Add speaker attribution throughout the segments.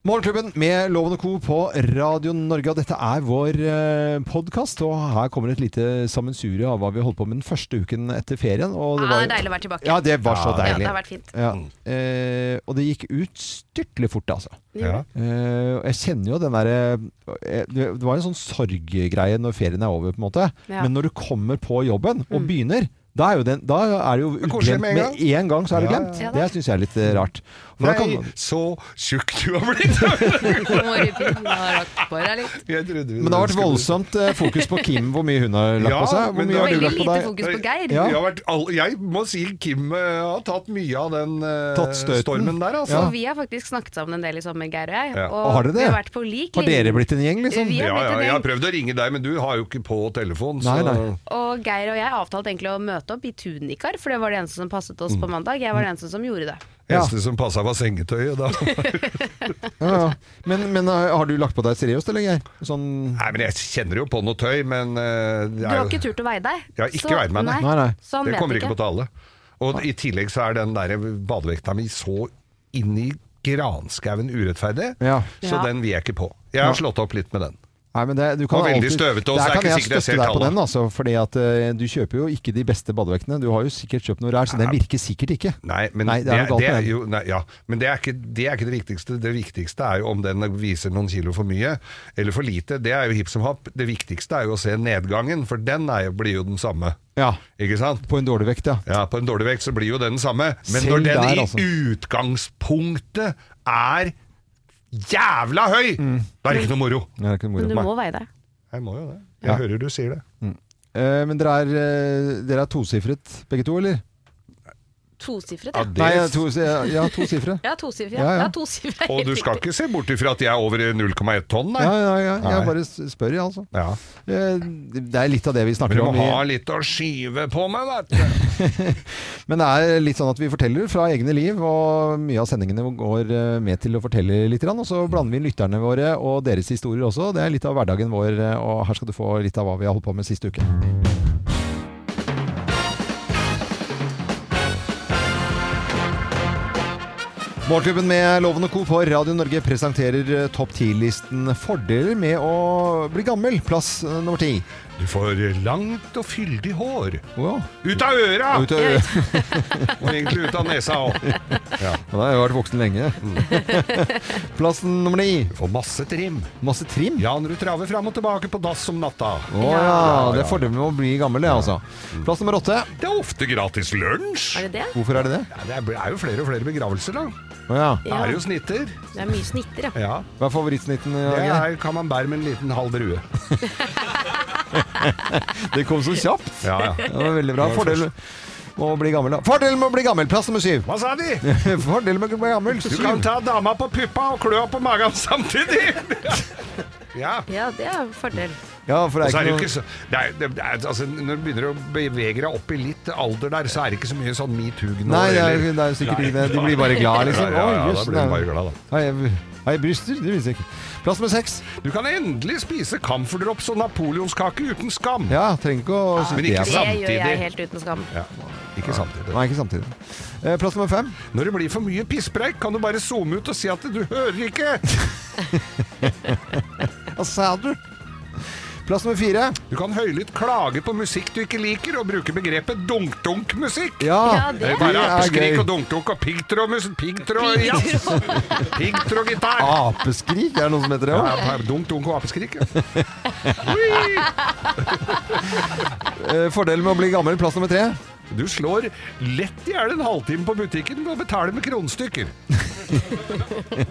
Speaker 1: Morgenklubben med Loven og Co. på Radio Norge. Og dette er vår eh, podkast, og her kommer et lite sammensurie av hva vi holdt på med den første uken etter ferien. Og
Speaker 2: Ja, det er Ah, deilig å være tilbake.
Speaker 1: Ja, det var så
Speaker 2: Ja,
Speaker 1: deilig.
Speaker 2: det har vært fint.
Speaker 1: Ja. Eh, og det gikk ut styrtelig fort, altså.
Speaker 3: Ja.
Speaker 1: Eh, og jeg kjenner jo den derre eh, Det det var en sånn sorggreie når ferien er over, på en måte.
Speaker 2: Ja. Mm.
Speaker 1: Men når du kommer på jobben og begynner, da er, jo den, da er det jo
Speaker 3: koselig
Speaker 1: glemt
Speaker 3: med en
Speaker 1: med en gang. så er det
Speaker 3: Ja,
Speaker 1: glemt.
Speaker 2: ja. Ja, det
Speaker 1: Det
Speaker 2: er-
Speaker 1: syns jeg er litt eh, rart. Hvordan
Speaker 3: Nei,
Speaker 1: kan-
Speaker 3: så tjukk du har blitt!
Speaker 2: Morgenpinn har lagt på deg litt.
Speaker 3: Jeg trodde vi-
Speaker 1: Men det har vært
Speaker 3: skulle-
Speaker 1: voldsomt eh, fokus på Kim, hvor mye hun har lagt
Speaker 3: Ja,
Speaker 1: på seg. Hvor
Speaker 3: men
Speaker 1: mye
Speaker 3: det
Speaker 1: har du
Speaker 2: Veldig
Speaker 1: lagt på
Speaker 2: lite
Speaker 1: deg?
Speaker 2: fokus på Geir.
Speaker 1: Ja.
Speaker 3: Jeg, har vært all, jeg må si Kim eh, har tatt mye av den eh,
Speaker 1: Tatt støyten.
Speaker 3: stormen der, altså.
Speaker 1: Ja.
Speaker 2: Og vi har faktisk snakket sammen en del i sommer, Geir og jeg.
Speaker 3: Ja.
Speaker 2: Og,
Speaker 1: Og har dere
Speaker 2: vi
Speaker 1: det?
Speaker 2: har vært på lik
Speaker 1: Har
Speaker 2: linje.
Speaker 1: dere blitt en gjeng, liksom?
Speaker 2: Vi
Speaker 3: Ja,
Speaker 2: har blitt
Speaker 3: ja,
Speaker 2: en
Speaker 3: jeg har
Speaker 2: gjeng.
Speaker 3: prøvd å ringe deg, men du har jo ikke på telefon.
Speaker 1: Nei,
Speaker 3: så-
Speaker 1: nei.
Speaker 2: Og Geir og jeg avtalte egentlig å møte opp i tunikar, for det var det eneste som passet oss på
Speaker 1: Mm.
Speaker 2: mandag. Jeg var den eneste som gjorde det.
Speaker 1: Ja.
Speaker 3: Eneste som passa, var sengetøyet. Da.
Speaker 1: Ja, ja. Men, men eh, har du lagt på deg seriøst, eller, Geir? Sånn
Speaker 3: Nei, men Jeg kjenner jo på noe tøy, men eh, det
Speaker 2: Du
Speaker 3: er
Speaker 2: har
Speaker 3: jo-
Speaker 2: ikke turt å veie deg.
Speaker 3: Jeg har ikke
Speaker 2: så-
Speaker 3: veid meg, nei.
Speaker 1: Nei, nei.
Speaker 2: Så han
Speaker 3: det
Speaker 2: vet
Speaker 3: kommer ikke på tale. Og i tillegg så er den der badevekta mi så inn i granskauen urettferdig,
Speaker 1: Ja.
Speaker 3: så
Speaker 2: Ja.
Speaker 3: den vil jeg ikke på. Jeg har slått opp litt med den.
Speaker 1: Nei, men det, du kan
Speaker 3: Og veldig
Speaker 1: alltid-
Speaker 3: støvete, og
Speaker 1: Der
Speaker 3: så er
Speaker 1: kan
Speaker 3: ikke
Speaker 1: jeg
Speaker 3: sikkert jeg
Speaker 1: støtte
Speaker 3: ser
Speaker 1: deg på
Speaker 3: tallet.
Speaker 1: den, altså. Fordi at eh, du kjøper jo ikke de beste badevektene. Du har jo sikkert kjøpt noe ræl, så den virker sikkert ikke.
Speaker 3: Nei, men
Speaker 1: Nei,
Speaker 3: det,
Speaker 1: det er noe galt
Speaker 3: det,
Speaker 1: med
Speaker 3: er
Speaker 1: den.
Speaker 3: jo, nei, ja. men det, er ikke, det er ikke det viktigste. Det viktigste er jo om den viser noen kilo for mye eller for lite. Det er jo hipp som happ. Det viktigste er jo å se nedgangen, for den er, jo- blir jo den samme.
Speaker 1: Ja,
Speaker 3: Ikke sant?
Speaker 1: på en dårlig vekt, ja.
Speaker 3: Ja, På en dårlig vekt så blir jo den samme. Men
Speaker 1: Selv
Speaker 3: når den
Speaker 1: der,
Speaker 3: i
Speaker 1: altså.
Speaker 3: utgangspunktet er jævla høy,
Speaker 1: Mm.
Speaker 3: da er det ikke noe moro.
Speaker 1: Det er ikke noe moro.
Speaker 2: Men du må veie deg.
Speaker 3: Jeg må jo det. Jeg
Speaker 1: Ja.
Speaker 3: hører du sier det.
Speaker 1: Eh, men dere er, eh, dere er tosifret, begge to, eller?
Speaker 2: Tosifret,
Speaker 3: Ja,
Speaker 2: ja.
Speaker 1: Nei,
Speaker 3: det-
Speaker 1: to, ja, tosifre.
Speaker 2: Ja, tosifret.
Speaker 1: Ja,
Speaker 2: Ja,
Speaker 1: ja.
Speaker 2: ja. tosifret.
Speaker 3: Og du skal ikke se bort ifra at jeg er over 0,1 tonn,
Speaker 1: Ja,
Speaker 3: nei.
Speaker 1: ja, ja. Jeg
Speaker 3: Nei.
Speaker 1: bare s- spør, jeg, altså.
Speaker 3: Ja.
Speaker 1: Eh, Det er litt av det vi
Speaker 3: Men
Speaker 1: snakker
Speaker 3: du må
Speaker 1: om. i-
Speaker 3: ha litt å skyve på med, vet du.
Speaker 1: Men det er litt sånn at vi forteller fra egne liv, og mye av sendingene går eh, med til å fortelle litt. grann, Og så blander vi inn lytterne våre og deres historier også. Det er litt av hverdagen vår, eh, og her skal du få litt av hva vi har holdt på med siste uke. Morgenklubben med Loven og Co. på Radio Norge presenterer eh, topp 10-listen fordeler med å bli gammel. Plass eh, nummer ti.
Speaker 3: Du får langt og fyldig hår.
Speaker 1: Wow.
Speaker 3: Ut av øra!
Speaker 1: Ut av-
Speaker 3: Og egentlig ut av nesa òg.
Speaker 1: Ja, da har jeg vært voksen lenge.
Speaker 3: Mm.
Speaker 1: Plassen nummer ni.
Speaker 3: Du får masse trim.
Speaker 1: Masse trim.
Speaker 3: Ja, når du traver fram og tilbake på dass om natta.
Speaker 1: Å ja, Det er fordelen med å bli gammel, det, altså.
Speaker 3: Mm.
Speaker 1: Plass nummer åtte.
Speaker 3: Det er ofte gratis lunsj.
Speaker 2: Er det det?
Speaker 1: Hvorfor er det det?
Speaker 3: Ja, det er- er jo flere og flere begravelser, da.
Speaker 1: Å ja.
Speaker 3: Det er jo snitter.
Speaker 2: Det er mye snitter, ja.
Speaker 3: Ja.
Speaker 1: Hva er favorittsnitten?
Speaker 3: Det
Speaker 1: Geir?
Speaker 3: er camembert med en liten halv drue.
Speaker 1: Det kom så kjapt.
Speaker 3: Ja,
Speaker 1: Ja,
Speaker 3: ja.
Speaker 1: det var veldig bra. Fordel med å bli gammel, da. Fordel med å bli gammel! Plass nummer syv.
Speaker 3: Hva sa de?
Speaker 1: Fordel med å bli gammel.
Speaker 3: Du kan
Speaker 1: Syv.
Speaker 3: ta dama på puppa og klø på magen samtidig! Ja.
Speaker 2: Ja, det er en fordel.
Speaker 1: Ja, for det
Speaker 3: Så er
Speaker 1: er
Speaker 3: det jo
Speaker 1: ikke
Speaker 3: ikke
Speaker 1: noe
Speaker 3: så, det er, det er, altså, når du begynner å bevege deg opp i litt alder der, så er det ikke så mye sånn metoo nå.
Speaker 1: Nei, det er,
Speaker 3: eller-
Speaker 1: det er sikkert ikke det. De
Speaker 3: Nei.
Speaker 1: blir bare glad,
Speaker 3: Ja,
Speaker 1: liksom.
Speaker 3: ja,
Speaker 1: Å,
Speaker 3: ja, da
Speaker 1: jøss,
Speaker 3: blir de
Speaker 1: nei.
Speaker 3: bare glad, da.
Speaker 1: Har jeg- Har jeg bryster? Det visste jeg ikke. Plass nummer seks.
Speaker 3: Du kan endelig spise camferdrops og napoleonskake uten skam.
Speaker 1: Ja, trenger ikke å synes
Speaker 3: Men
Speaker 1: det
Speaker 3: ikke
Speaker 1: er
Speaker 2: Det
Speaker 1: bra.
Speaker 2: gjør
Speaker 3: Samtidig.
Speaker 2: jeg helt uten skam.
Speaker 3: Ja, Ikke samtidig.
Speaker 1: Nei, ikke samtidig. Eh, Plass nummer fem.
Speaker 3: Når det blir for mye pisspreik, kan du bare zoome ut og si at du hører ikke.
Speaker 1: Hva sa du? Plass nummer fire.
Speaker 3: Du kan høylytt klage på musikk du ikke liker, og bruke begrepet dunk-dunk-musikk.
Speaker 1: Ja,
Speaker 2: Ja, det
Speaker 3: Det
Speaker 2: er
Speaker 3: er bare
Speaker 1: gøy.
Speaker 3: apeskrik og dunk-dunk og piggtråd-musikk. Piggtråd, ja. Piggtråd-gitar.
Speaker 1: Apeskrik, er det noe som heter Ah, det
Speaker 3: Ja,
Speaker 1: òg?
Speaker 3: ja, dunk, dunk og apeskrik. ja.
Speaker 1: Fordelen Eh, med å bli gammel, plass nummer tre.
Speaker 3: Du slår lett i hjel en halvtime på butikken ved å betale med kronestykker.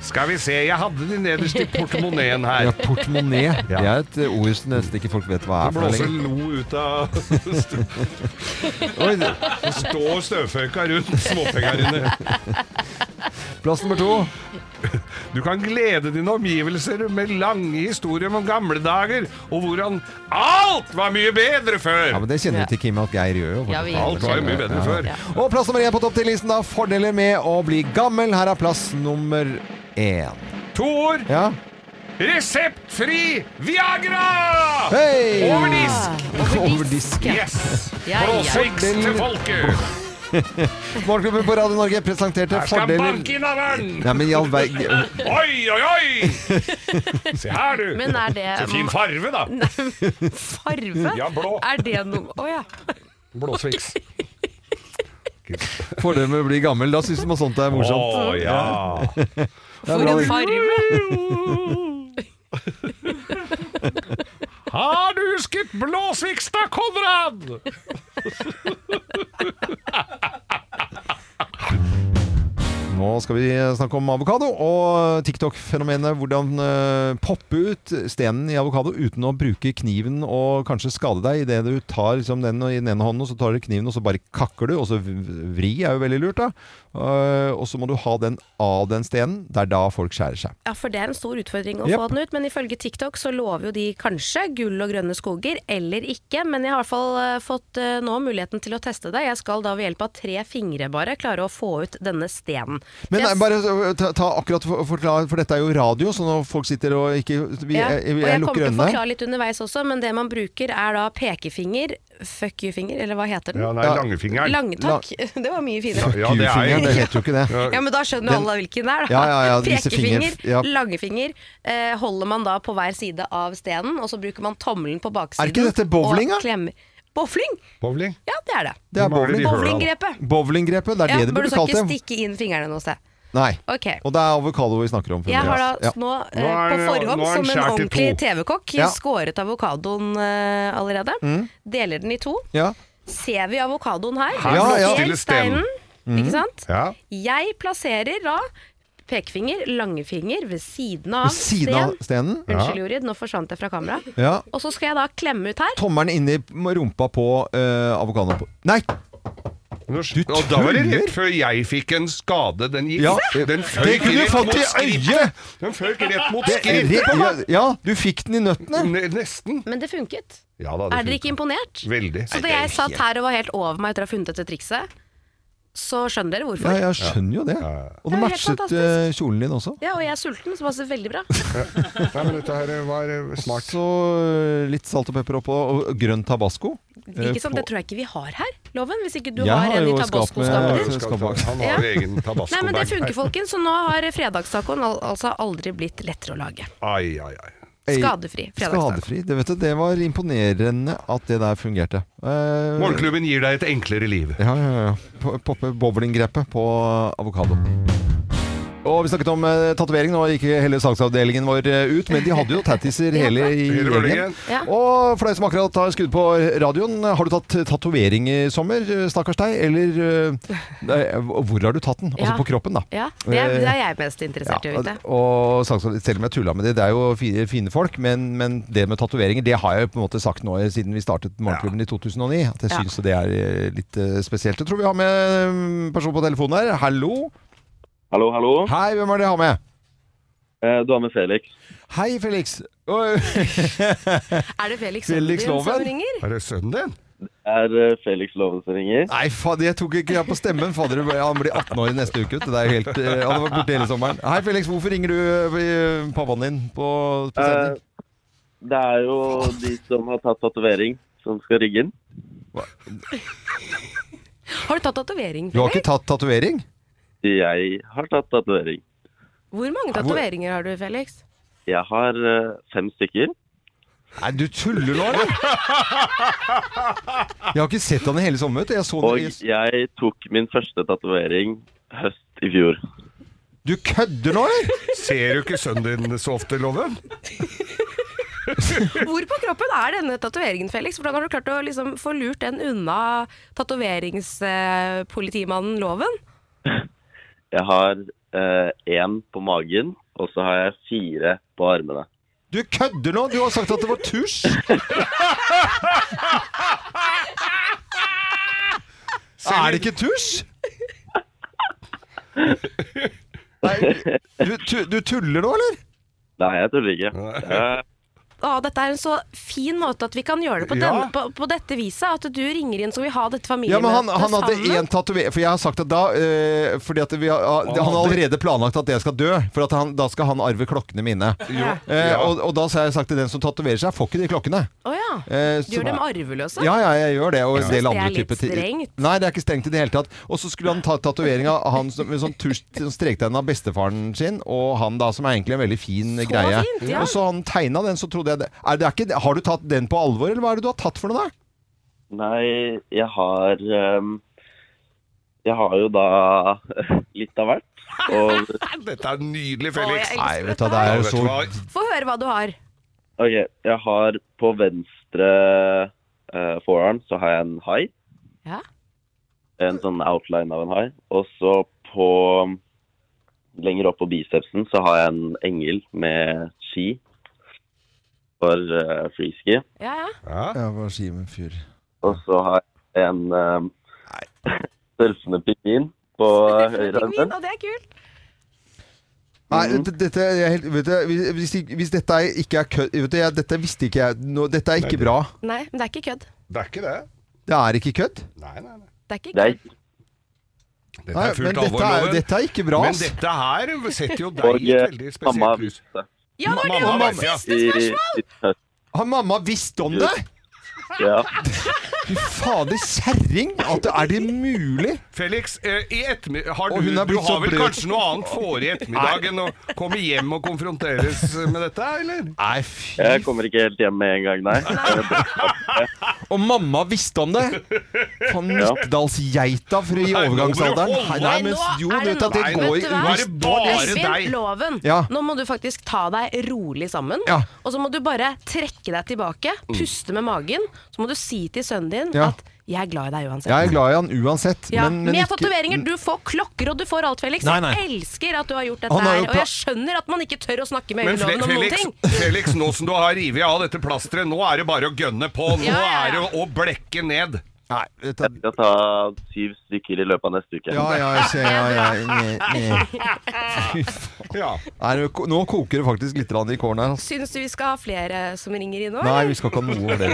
Speaker 3: Skal vi se, jeg hadde de nederst i portemoneen her.
Speaker 1: Ja, portemonné. Det er et eh, ord som nesten ikke folk vet hva er
Speaker 3: Det
Speaker 1: for noe
Speaker 3: blåser
Speaker 1: lenger.
Speaker 3: lo ut av st-
Speaker 1: Oi, det-
Speaker 3: Det står støvføyka rundt småpengene.
Speaker 1: Plass nummer to.
Speaker 3: Du kan glede dine omgivelser med lange historier om gamle dager, og hvordan alt var mye bedre før!
Speaker 1: Ja, men Det liksom- kjenner du til, Kim, at Geir gjør jo.
Speaker 2: Ja, vi
Speaker 1: fortsatt.
Speaker 3: Alt var jo mye bedre før.
Speaker 2: Ja.
Speaker 1: Og plass nummer én på topp 10-listen, da. Fordeler med å bli gammel. Her er plass nummer én.
Speaker 3: To ord
Speaker 1: Ja.
Speaker 3: reseptfri Viagra!
Speaker 1: Hei!
Speaker 3: Over disk!
Speaker 2: Over
Speaker 1: Over disk.
Speaker 2: disk. ja.
Speaker 3: Yes!
Speaker 2: Ja,
Speaker 3: For
Speaker 2: ja.
Speaker 3: oss vekst til folket!
Speaker 1: Morgenklubben på Radio Norge presenterte
Speaker 3: Her skal
Speaker 1: fordeler
Speaker 3: banke i navlen!
Speaker 1: Nei, men i all ver...
Speaker 3: Oi, oi, oi! Se her, du.
Speaker 2: Men er det
Speaker 3: Så fin farve, da.
Speaker 2: farve?
Speaker 3: Ja, blå.
Speaker 2: Er det noe Å ja.
Speaker 3: Blåsviks.
Speaker 1: Fordeler med å bli gammel. Da syns man sånt er
Speaker 3: Å
Speaker 1: morsomt.
Speaker 3: ja.
Speaker 1: Det er
Speaker 2: For
Speaker 1: bra,
Speaker 2: en
Speaker 1: det.
Speaker 2: farve!
Speaker 3: Har du husket Blåsviks da, Konrad?
Speaker 1: Nå skal vi eh, snakke om avokado og eh, TikTok-fenomenet. Hvordan eh, poppe ut stenen i avokado uten å bruke kniven og kanskje skade deg. Idet du tar liksom, den i den ene hånden, og så tar du kniven og så bare kakker du. Og så v- vri er jo veldig lurt, da. Eh, og så må du ha den av den stenen. Det er da folk skjærer seg.
Speaker 2: Ja, for det er en stor utfordring å
Speaker 1: Jep.
Speaker 2: få den ut, men ifølge TikTok så lover jo de kanskje gull og grønne skoger, eller ikke. Men jeg har i hvert fall eh, fått eh, nå muligheten til å teste det. Jeg skal da ved hjelp av tre fingre bare klare å få ut denne stenen.
Speaker 1: Men
Speaker 2: Det er
Speaker 1: eh, bare eh, ta, ta akkurat for, forklar, for dette er jo radio, så når folk sitter og ikke vi,
Speaker 2: Ja,
Speaker 1: jeg, jeg,
Speaker 2: og jeg kommer
Speaker 1: lukker
Speaker 2: til å
Speaker 1: øynene.
Speaker 2: forklare litt underveis også, men det man bruker er da pekefinger, fuck you-finger, eller hva heter den?
Speaker 3: Ja, nei, langfingeren.
Speaker 2: Lange takk. Det var mye finere.
Speaker 3: Ja, det er
Speaker 1: Kufinger,
Speaker 3: jo
Speaker 1: det heter jo ikke det.
Speaker 2: Ja, men da skjønner
Speaker 1: Den-
Speaker 2: alle hvilken det er, da.
Speaker 1: Ja, ja, ja, disse
Speaker 2: Pekefinger,
Speaker 1: finger- ja.
Speaker 2: langefinger, eh, holder man da på hver side av stenen, og så bruker man tommelen på baksiden.
Speaker 1: Er ikke dette bowling, da?
Speaker 2: og klemmer- Bowling?
Speaker 3: Bowling.
Speaker 2: Ja, det er det.
Speaker 1: Det er
Speaker 3: Hvor mangler
Speaker 1: bowling.
Speaker 3: de hull, da?
Speaker 2: Bowlinggrepet.
Speaker 1: Bowlinggrepet, det er
Speaker 2: Ja,
Speaker 1: det det
Speaker 2: men
Speaker 1: burde
Speaker 2: du skal
Speaker 1: kalt
Speaker 2: ikke
Speaker 1: det.
Speaker 2: stikke inn fingrene noe sted.
Speaker 1: Nei.
Speaker 2: Ok.
Speaker 1: Og det er avokado vi snakker om.
Speaker 2: Jeg har da
Speaker 1: fremdeles. Ja.
Speaker 2: nå, eh,
Speaker 3: Nå er
Speaker 2: på
Speaker 3: det-
Speaker 2: forhånd,
Speaker 3: nå er den
Speaker 2: som en
Speaker 3: skjært i
Speaker 2: ordentlig
Speaker 3: to.
Speaker 2: TV-kokk,
Speaker 1: Ja. Mm.
Speaker 2: skåret avokadoen eh, allerede. Deler den i to.
Speaker 1: Ja.
Speaker 2: Ser vi avokadoen her?
Speaker 3: Her
Speaker 1: Ja, ja. Mm.
Speaker 3: stille
Speaker 2: Del
Speaker 3: stenen.
Speaker 2: steinen, ikke sant?
Speaker 3: Ja.
Speaker 2: Jeg plasserer da pekefinger, langfinger ved siden av
Speaker 1: Ved siden av
Speaker 2: sten.
Speaker 1: stenen.
Speaker 2: Unnskyld, Jorid, nå forsvant jeg fra kamera.
Speaker 1: Ja.
Speaker 2: Og så skal jeg da klemme ut her.
Speaker 1: Tommelen inni rumpa på uh, avokadoen. på- Nei!
Speaker 3: Du
Speaker 1: tuller!
Speaker 3: og da var det rett før jeg fikk en skade. Den gikk
Speaker 1: Ja.
Speaker 3: den
Speaker 1: Det
Speaker 3: føyk
Speaker 1: kunne du
Speaker 3: rett
Speaker 1: fått
Speaker 3: mot
Speaker 1: i
Speaker 3: skritt-
Speaker 1: øyet!
Speaker 3: Den føyk rett mot
Speaker 1: Det er
Speaker 3: skrittet
Speaker 1: rett-
Speaker 3: på
Speaker 1: ja,
Speaker 3: meg!
Speaker 1: ja, du fikk den i nøttene.
Speaker 3: Ne- Nesten.
Speaker 2: Men det funket.
Speaker 3: Ja da,
Speaker 2: Er dere ikke
Speaker 3: funker.
Speaker 2: imponert?
Speaker 3: Veldig.
Speaker 2: Så da jeg satt her og var helt over meg etter å ha funnet dette trikset, så skjønner
Speaker 1: Ja,
Speaker 2: dere hvorfor. Ja,
Speaker 1: jeg skjønner jo det. Og det
Speaker 2: Det er helt
Speaker 1: matchet
Speaker 2: fantastisk.
Speaker 1: eh, kjolen din også.
Speaker 2: og jeg er sulten, så passer det veldig bra.
Speaker 3: Nei, men dette her var eh, smart.
Speaker 1: Så eh, litt salt og pepper oppå, og grønn tabasco. eh,
Speaker 2: Ikke sant?
Speaker 1: på-
Speaker 2: Det tror jeg ikke vi har her, Loven. Hvis ikke du
Speaker 1: Jeg
Speaker 2: har
Speaker 1: har
Speaker 2: en i
Speaker 1: jo skap med-
Speaker 3: Ja,
Speaker 2: tabasco-skapet ditt.
Speaker 3: jeg skal ta- Han
Speaker 2: Ja.
Speaker 3: har jo egen
Speaker 2: Nei, men det funker,
Speaker 3: tabasco-bag.
Speaker 2: folkens. Så nå har fredagstacoen al altså aldri blitt lettere å lage.
Speaker 3: Ai, ai, ai.
Speaker 1: Ei,
Speaker 2: Skadefri fredagstaco.
Speaker 1: Skadefri. Det, vet du, det var imponerende at det der fungerte. Eh,
Speaker 3: Morgenklubben gir deg et enklere liv.
Speaker 1: Ja, ja, ja. Po- Poppe bowlinggrepet på avokado. Og Vi snakket om eh, tatovering. Nå gikk hele salgsavdelingen vår eh, ut, men de hadde jo tattiser hele i
Speaker 3: Hele
Speaker 1: gjengen.
Speaker 3: gjengen.
Speaker 2: Ja.
Speaker 1: Og for deg som akkurat har skrudd på radioen, har du tatt tatovering i sommer? eh, Stakkars deg. Eller eh, nei, hvor har du tatt den? Altså
Speaker 2: Ja.
Speaker 1: på kroppen, da.
Speaker 2: Ja, det er, det er jeg mest interessert i å vite.
Speaker 1: Ja, og salgsavdelingen- selv om jeg tulla med det, det er jo fi- fine folk, men, men det med tatoveringer, det har jeg på en måte sagt nå eh, siden vi startet Morgenklubben i 2009. At jeg
Speaker 2: Ja.
Speaker 1: syns det er eh, litt eh, spesielt. Jeg tror vi har med en person på telefonen her. Hallo.
Speaker 4: Hallo, hallo.
Speaker 1: Hei, hvem er det jeg har med?
Speaker 4: Eh, Du har med Felix.
Speaker 1: Hei, Felix. Oi,
Speaker 2: Er det Felix,
Speaker 1: Felix
Speaker 2: Loven
Speaker 1: Loven?
Speaker 2: som ringer?
Speaker 3: Er det sønnen din?
Speaker 4: Er eh, Felix Loven som ringer?
Speaker 1: Nei, fader, jeg tok ikke jeg på stemmen. Fader, han blir 18 år i neste uke. vet du. Det er jo helt, eh, han har vært borte hele sommeren. Hei, Felix, hvorfor ringer du eh, pappaen din på, på
Speaker 4: Eh,
Speaker 1: sending?
Speaker 4: det er jo de som har tatt tatovering, som skal rigge den.
Speaker 2: Har du tatt tatovering,
Speaker 1: Du har
Speaker 2: Felix?
Speaker 1: ikke tatt tatovering?
Speaker 4: Jeg har tatt tatovering.
Speaker 2: Hvor mange tatoveringer har du, Felix?
Speaker 4: Jeg har eh, fem stykker.
Speaker 1: Nei, du tuller nå, eller? Jeg har ikke sett han i hele sommer. vet du. Jeg så
Speaker 4: Og
Speaker 1: han i...
Speaker 4: jeg tok min første tatovering høst i fjor.
Speaker 1: Du kødder nå, eller?
Speaker 3: Ser du ikke sønnen din så ofte, Loven?
Speaker 2: Hvor på kroppen er denne tatoveringen, Felix? Hvordan har du klart å liksom få lurt den unna tatoveringspolitimannen Loven?
Speaker 4: Jeg har én på magen, og så har jeg fire på armene.
Speaker 1: Du kødder nå! Du har sagt at det var tusj! Er det ikke tusj? Nei, Du, tu, du tuller nå, eller?
Speaker 4: Nei, jeg tuller ikke. Eh,
Speaker 2: Å, dette er en så fin måte at vi kan gjøre det på,
Speaker 3: Ja.
Speaker 2: denne, på, på dette viset. At du ringer inn så vi har dette
Speaker 1: Ja, men
Speaker 2: familiemøtet
Speaker 1: han, han hadde
Speaker 2: sammen.
Speaker 1: én tatovering For jeg har sagt at da eh, Fordi at vi har, Han har allerede planlagt at jeg skal dø, for at han, da skal han arve klokkene mine.
Speaker 3: Jo,
Speaker 1: Eh,
Speaker 3: ja.
Speaker 1: og, og da har jeg sagt til den som tatoverer seg, får ikke de klokkene.
Speaker 2: Å ja.
Speaker 1: Eh,
Speaker 2: Du gjør dem arveløse?
Speaker 1: Ja, ja, jeg gjør det. Og en
Speaker 2: synes
Speaker 1: del
Speaker 2: det er
Speaker 1: andre
Speaker 2: litt
Speaker 1: typer ti-
Speaker 2: strengt.
Speaker 1: Nei, det er ikke strengt i det hele tatt. Og så skulle han ta tatovering av han som, med sånn tusj som strektegn av bestefaren sin, og han da, som er egentlig en veldig fin
Speaker 2: Så
Speaker 1: greie.
Speaker 2: fint, ja.
Speaker 1: Og så han tegna den, så trodde jeg det. Er det er ikke, Har du tatt den på alvor, eller hva er det du har tatt for noe, da?
Speaker 4: Nei, jeg har ehm, Jeg har jo da litt av hvert. Og
Speaker 3: Dette er nydelig,
Speaker 2: Å,
Speaker 3: Felix.
Speaker 2: jeg
Speaker 1: Nei,
Speaker 2: elsker
Speaker 1: vet du,
Speaker 2: dette
Speaker 1: det
Speaker 2: her.
Speaker 3: Ja,
Speaker 1: er jo
Speaker 3: vet du
Speaker 1: så
Speaker 3: hva?
Speaker 2: Få høre hva du har.
Speaker 4: ok, jeg har på venstre eh, forearm så har jeg en hai.
Speaker 2: Ja.
Speaker 4: En sånn outline av en hai. Og så på Lenger opp på bicepsen så har jeg en engel med ski. For uh, freeski.
Speaker 2: Ja, ja.
Speaker 3: Ja.
Speaker 1: Ja, hva sier min fyr?
Speaker 4: Og så har jeg en ehm, surfende pingvin på høyre
Speaker 2: Pingvin,
Speaker 4: armen.
Speaker 2: og det er kult.
Speaker 1: Nei, d- dette er helt vet du, hvis- hvis, ikke- hvis dette er ikke er kødd Vet du, jeg, dette visste ikke jeg nå, Dette er ikke bra.
Speaker 2: Nei, men det er ikke kødd.
Speaker 3: Det er ikke det.
Speaker 1: Det er ikke kødd.
Speaker 3: Nei, nei, nei.
Speaker 2: Det er ikke
Speaker 4: Det er
Speaker 2: kødd.
Speaker 4: ikke
Speaker 3: Dette
Speaker 1: Nei,
Speaker 3: er
Speaker 1: men
Speaker 3: fullt
Speaker 1: dette
Speaker 3: alvor,
Speaker 1: er,
Speaker 3: Loven.
Speaker 1: dette er ikke bra,
Speaker 3: Men
Speaker 1: ass.
Speaker 3: dette her setter jo deg
Speaker 4: Og
Speaker 3: i et veldig
Speaker 4: eh, mamma
Speaker 3: spesielt lys.
Speaker 4: visste
Speaker 2: Ja, det var det
Speaker 3: Mamma,
Speaker 2: var mitt
Speaker 3: mamma, ja.
Speaker 2: siste
Speaker 4: i,
Speaker 2: spørsmål!
Speaker 4: i høst.
Speaker 1: Har mamma visst om det?
Speaker 4: Ja.
Speaker 1: Fy fader, kjerring! At det er det mulig?
Speaker 3: Felix, eh, i ettermiddag har
Speaker 1: Og
Speaker 3: du,
Speaker 1: hun er
Speaker 3: du
Speaker 1: blitt
Speaker 3: har
Speaker 1: så
Speaker 3: vel
Speaker 1: bløt.
Speaker 3: kanskje noe annet for i ettermiddag enn å komme hjem og konfronteres med dette, eller?
Speaker 1: Nei, fy
Speaker 4: Jeg kommer ikke helt hjem med en gang, nei.
Speaker 1: Og mamma visste om det! Faen, Nittedalsgeita for i
Speaker 3: Nei, nå må du
Speaker 1: overgangsalderen.
Speaker 3: holde
Speaker 1: Nei, nei,
Speaker 2: deg.
Speaker 1: men
Speaker 2: Nå
Speaker 1: jo,
Speaker 2: er
Speaker 1: du
Speaker 2: det
Speaker 1: vet at det
Speaker 3: Nei,
Speaker 1: går
Speaker 3: vet du hva? Nå er det bare deg.
Speaker 2: Espen, loven.
Speaker 1: Ja.
Speaker 2: Nå må du faktisk ta deg rolig sammen.
Speaker 1: Ja. Mm.
Speaker 2: Og så må du bare trekke deg tilbake, puste med magen. Så må du si til sønnen din
Speaker 1: Ja.
Speaker 2: at 'jeg er glad i deg uansett'.
Speaker 1: Jeg er glad i han uansett,
Speaker 2: Ja,
Speaker 1: men, men
Speaker 2: Med
Speaker 1: ikke-
Speaker 2: tatoveringer. Du får klokker, og du får alt, Felix.
Speaker 1: Nei, nei.
Speaker 2: Jeg elsker at du har gjort
Speaker 1: Han
Speaker 2: dette
Speaker 1: har jo
Speaker 2: her. Og
Speaker 1: pla-
Speaker 2: jeg skjønner at man ikke tør å snakke med
Speaker 3: Men Fe-
Speaker 2: øyeloven om noen
Speaker 3: Felix,
Speaker 2: ting.
Speaker 3: Felix, nå som du har revet av dette plasteret, nå er det bare å gønne på. Nå
Speaker 2: Ja, ja,
Speaker 3: er
Speaker 2: ja.
Speaker 3: det å blekke ned.
Speaker 1: Nei, dette...
Speaker 4: Jeg skal ta syv stykker i løpet av neste uke.
Speaker 1: Ja, ja, jeg ser, ja, ja, ne, ne.
Speaker 3: Ja.
Speaker 1: Nei, det ko- nå koker det faktisk litt grann i kårene her. ass.
Speaker 2: Syns du vi skal ha flere som ringer inn nå?
Speaker 1: Nei,
Speaker 2: eller?
Speaker 1: vi skal ikke ha noe av det.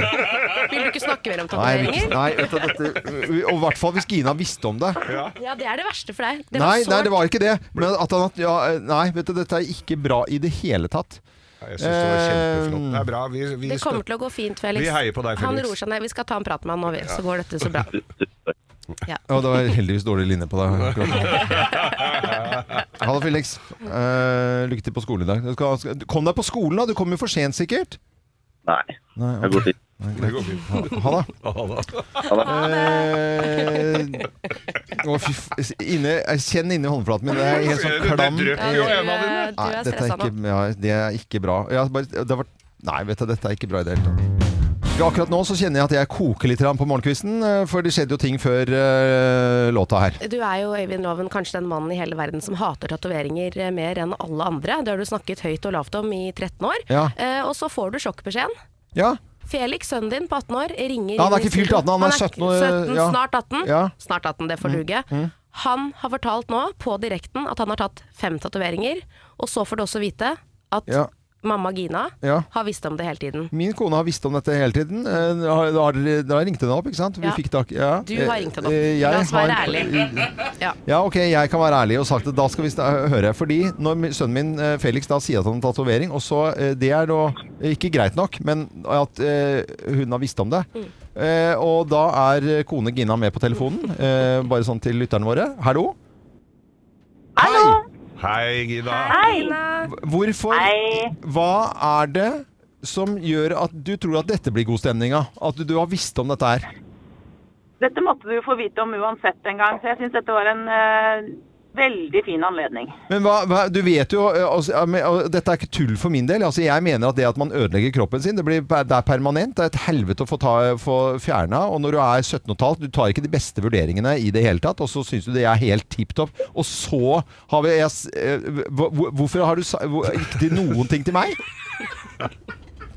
Speaker 2: Vil du ikke snakke mer om
Speaker 1: Nei, vi,
Speaker 2: tatoveringer?
Speaker 1: nei vet du, dette, og i hvert fall hvis Gina visste om det.
Speaker 2: Ja, det er det verste for deg.
Speaker 1: Nei,
Speaker 2: Det var
Speaker 1: nei,
Speaker 2: sårt.
Speaker 1: det var ikke det. Men at han, ja, eh, nei, vet du, dette er ikke bra i det hele tatt.
Speaker 3: Jeg syns det var kjempeflott. Det er bra. Vi, vi
Speaker 2: Det kommer til å gå fint, Felix.
Speaker 3: Vi heier på deg,
Speaker 2: Han
Speaker 3: Felix.
Speaker 2: roer seg ned. Vi skal ta en prat med han nå, vi, så går dette så bra.
Speaker 1: Ja, det var heldigvis dårlig linje på deg. akkurat nå. Ha det, Felix. Eh, lykke til på skolen i dag. Du skal, skal, kom deg på skolen, da. Du kommer jo for sent, sikkert.
Speaker 4: Nei.
Speaker 1: Nei,
Speaker 4: Det går fint.
Speaker 1: ha, ha det.
Speaker 3: støtter.
Speaker 1: Eh, å, fy f... Inne, jeg kjenn inni håndflaten min. Det er helt sånn
Speaker 3: Det- det
Speaker 1: klam.
Speaker 3: drypper jo
Speaker 2: Eh,
Speaker 3: i øynene dine.
Speaker 2: du
Speaker 1: Nei,
Speaker 2: er
Speaker 1: dette er
Speaker 2: stressa
Speaker 1: ikke,
Speaker 2: nå.
Speaker 1: ja, det er ikke bra. Jeg har bare, det har vært, nei, vet du, dette er ikke bra i det hele tatt. Ja, Akkurat nå så kjenner jeg at jeg koker litt grann på morgenkvisten, eh, for det skjedde jo ting før eh, låta her.
Speaker 2: Du er jo Øyvind Loven, kanskje den mannen i hele verden som hater tatoveringer eh, mer enn alle andre. Det har du snakket høyt og lavt om i 13 år.
Speaker 1: Ja.
Speaker 2: Eh, og så får du sjokkbeskjeden.
Speaker 1: Ja,
Speaker 2: Felix, sønnen din på 18 år, ringer
Speaker 1: Ja, han er
Speaker 2: inn i
Speaker 1: ikke fylt
Speaker 2: studio.
Speaker 1: 18, han er 17 år,
Speaker 2: 17,
Speaker 1: ja.
Speaker 2: snart 18.
Speaker 1: Ja. Mm.
Speaker 2: Snart 18, det får duge. Han har fortalt nå, på direkten, at han har tatt fem tatoveringer. Og så får du også vite at
Speaker 1: Ja.
Speaker 2: mamma Gina
Speaker 1: Ja.
Speaker 2: har visst om det hele tiden.
Speaker 1: min kone har visst om dette hele tiden. Eh, Da har- da har dere- da ringte hun opp, ikke sant? Vi
Speaker 2: Ja.
Speaker 1: fikk tak ja.
Speaker 2: Du har ringt henne opp.
Speaker 1: Eh, jeg
Speaker 2: La oss være
Speaker 1: har-
Speaker 2: ærlige. Ja.
Speaker 1: Ja, ok, jeg kan være ærlig og sagt at da skal vi sna- høre. Fordi når min- sønnen min eh, Felix da sier at han har tatovering, og så eh, Det er da ikke greit nok, men at eh, hun har visst om det.
Speaker 2: Mm.
Speaker 1: Eh, Og da er eh, kone Gina med på telefonen, eh, bare sånn til lytterne våre. Hallo? Hallo!
Speaker 3: Hei, Gina.
Speaker 1: Hvorfor Hva er det som gjør at du tror at dette blir god stemning av? At du har visst om dette her?
Speaker 5: Dette måtte du få vite om uansett en gang, så jeg syns dette var en eh, veldig fin anledning.
Speaker 1: Men hva, hva, du vet jo, eh, altså, ja, men, og dette er ikke tull for min del. Altså, jeg mener at det at man ødelegger kroppen sin, det, blir, det er permanent. Det er et helvete å få, ta, få fjerna. Og når du er 17 og et halvt, du tar ikke de beste vurderingene i det hele tatt. Og så syns du det er helt tipp topp. Og så har vi jeg, s- eh, hvor- hvor- Hvorfor har du sa- hvor, ikke til noen ting til meg?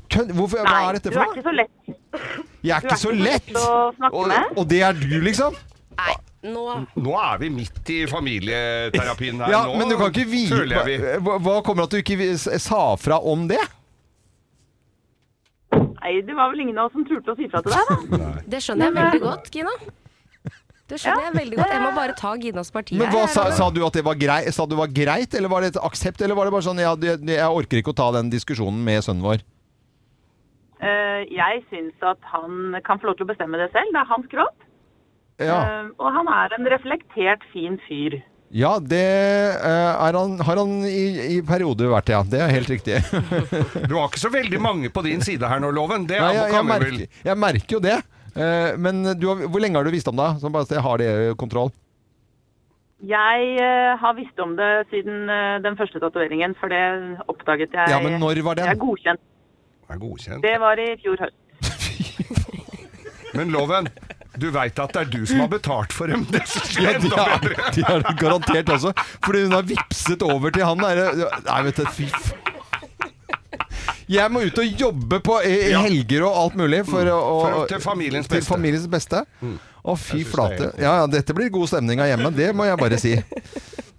Speaker 1: Kødd? Hvorfor, hva er dette
Speaker 5: du
Speaker 1: for
Speaker 5: er
Speaker 1: noe?
Speaker 5: ikke så lett,
Speaker 1: Jeg er
Speaker 5: du er
Speaker 1: ikke
Speaker 5: ikke
Speaker 1: så
Speaker 5: så
Speaker 1: lett!
Speaker 5: lett å snakke
Speaker 1: Og,
Speaker 5: med.
Speaker 1: og det er du, liksom?
Speaker 2: Nei, Nå
Speaker 3: Nå er vi midt i familieterapien her.
Speaker 1: Ja,
Speaker 3: nå,
Speaker 1: men du kan ikke hvile
Speaker 3: Føler jeg vi.
Speaker 1: Hva hva kommer at du ikke vi- s- sa fra om det?
Speaker 5: Nei, det var vel ingen av oss som turte å si fra til deg, da.
Speaker 2: Det skjønner jeg veldig godt, Gina. Det skjønner jeg veldig godt. Jeg må bare ta Ginas parti
Speaker 1: Men hva
Speaker 2: her.
Speaker 1: sa, sa du at det var greit? Sa du var greit, eller var det et aksept? Eller var det bare sånn ja, det- det- jeg orker ikke å ta den diskusjonen med sønnen vår?
Speaker 5: Eh, Jeg syns at han kan få lov til å bestemme det selv. Det er hans gråt.
Speaker 1: Ja,
Speaker 5: Eh, Og han er en reflektert, fin fyr.
Speaker 1: ja det eh, er han, har han i, i perioder vært, ja. Det er helt riktig.
Speaker 3: Du har ikke så veldig mange på din side her nå, Loven. Det
Speaker 1: Nei, jeg, jeg,
Speaker 3: kan vi vel
Speaker 1: merker, jeg merker jo det. Eh, Men du har, hvor lenge har du visst om det? Sånn bare at jeg har det kontroll.
Speaker 5: Jeg eh, har visst om det siden eh, den første tatoveringen, for det oppdaget jeg
Speaker 1: Ja, men når var den?
Speaker 5: Jeg godkjent.
Speaker 3: er godkjent.
Speaker 5: Det var i fjor høst.
Speaker 3: Men Loven, du veit at det er du som har betalt for dem. Det synes jeg
Speaker 1: Ja,
Speaker 3: er
Speaker 1: de
Speaker 3: enda
Speaker 1: har,
Speaker 3: bedre.
Speaker 1: de har det garantert også. Fordi hun har vipset over til han der. Nei, vet du, fy f... Jeg må ut og jobbe på i i
Speaker 3: Ja. Mm.
Speaker 1: helger og alt mulig for, å,
Speaker 3: For-
Speaker 1: å-
Speaker 3: til familiens
Speaker 1: til
Speaker 3: beste. Mm.
Speaker 1: familiens beste. Å, fy
Speaker 3: Jeg synes det er
Speaker 1: flate.
Speaker 3: helt
Speaker 1: Ja, ja, dette blir god stemning av hjemmet. Det må jeg bare si.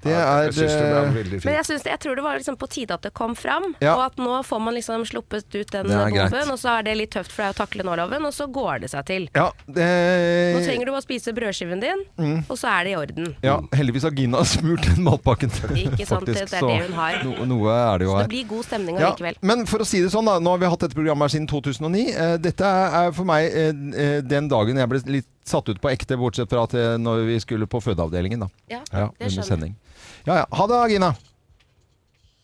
Speaker 1: Det er
Speaker 3: Jeg synes det er
Speaker 1: eh,
Speaker 3: veldig
Speaker 2: Men
Speaker 3: fint.
Speaker 2: jeg, synes det, jeg tror det var liksom på tide at det kom fram,
Speaker 1: Ja.
Speaker 2: og at nå får man liksom sluppet ut den
Speaker 1: Det er
Speaker 2: bomben,
Speaker 1: greit.
Speaker 2: og så er det litt tøft for deg å takle nå, Loven, og så går det seg til.
Speaker 1: ja,
Speaker 2: Nå
Speaker 1: det,
Speaker 2: trenger du bare spise brødskiven din,
Speaker 1: mm.
Speaker 2: og så er det i orden.
Speaker 1: ja, heldigvis har Gina smurt den matpakken.
Speaker 2: Ikke sant, det- det er det hun har.
Speaker 1: No, noe er det jo
Speaker 2: Det
Speaker 1: her.
Speaker 2: blir god stemning
Speaker 1: Ja,
Speaker 2: allikevel.
Speaker 1: men for å si det sånn, da. Nå har vi hatt dette programmet her siden 2009. Eh, dette er er for meg eh, eh, den dagen jeg ble litt satt ut på ekte, bortsett fra at eh, når vi skulle på fødeavdelingen, da.
Speaker 2: Ja, det
Speaker 1: under
Speaker 2: skjønner jeg.
Speaker 1: sending. Ja, ja. Ha det, Gina.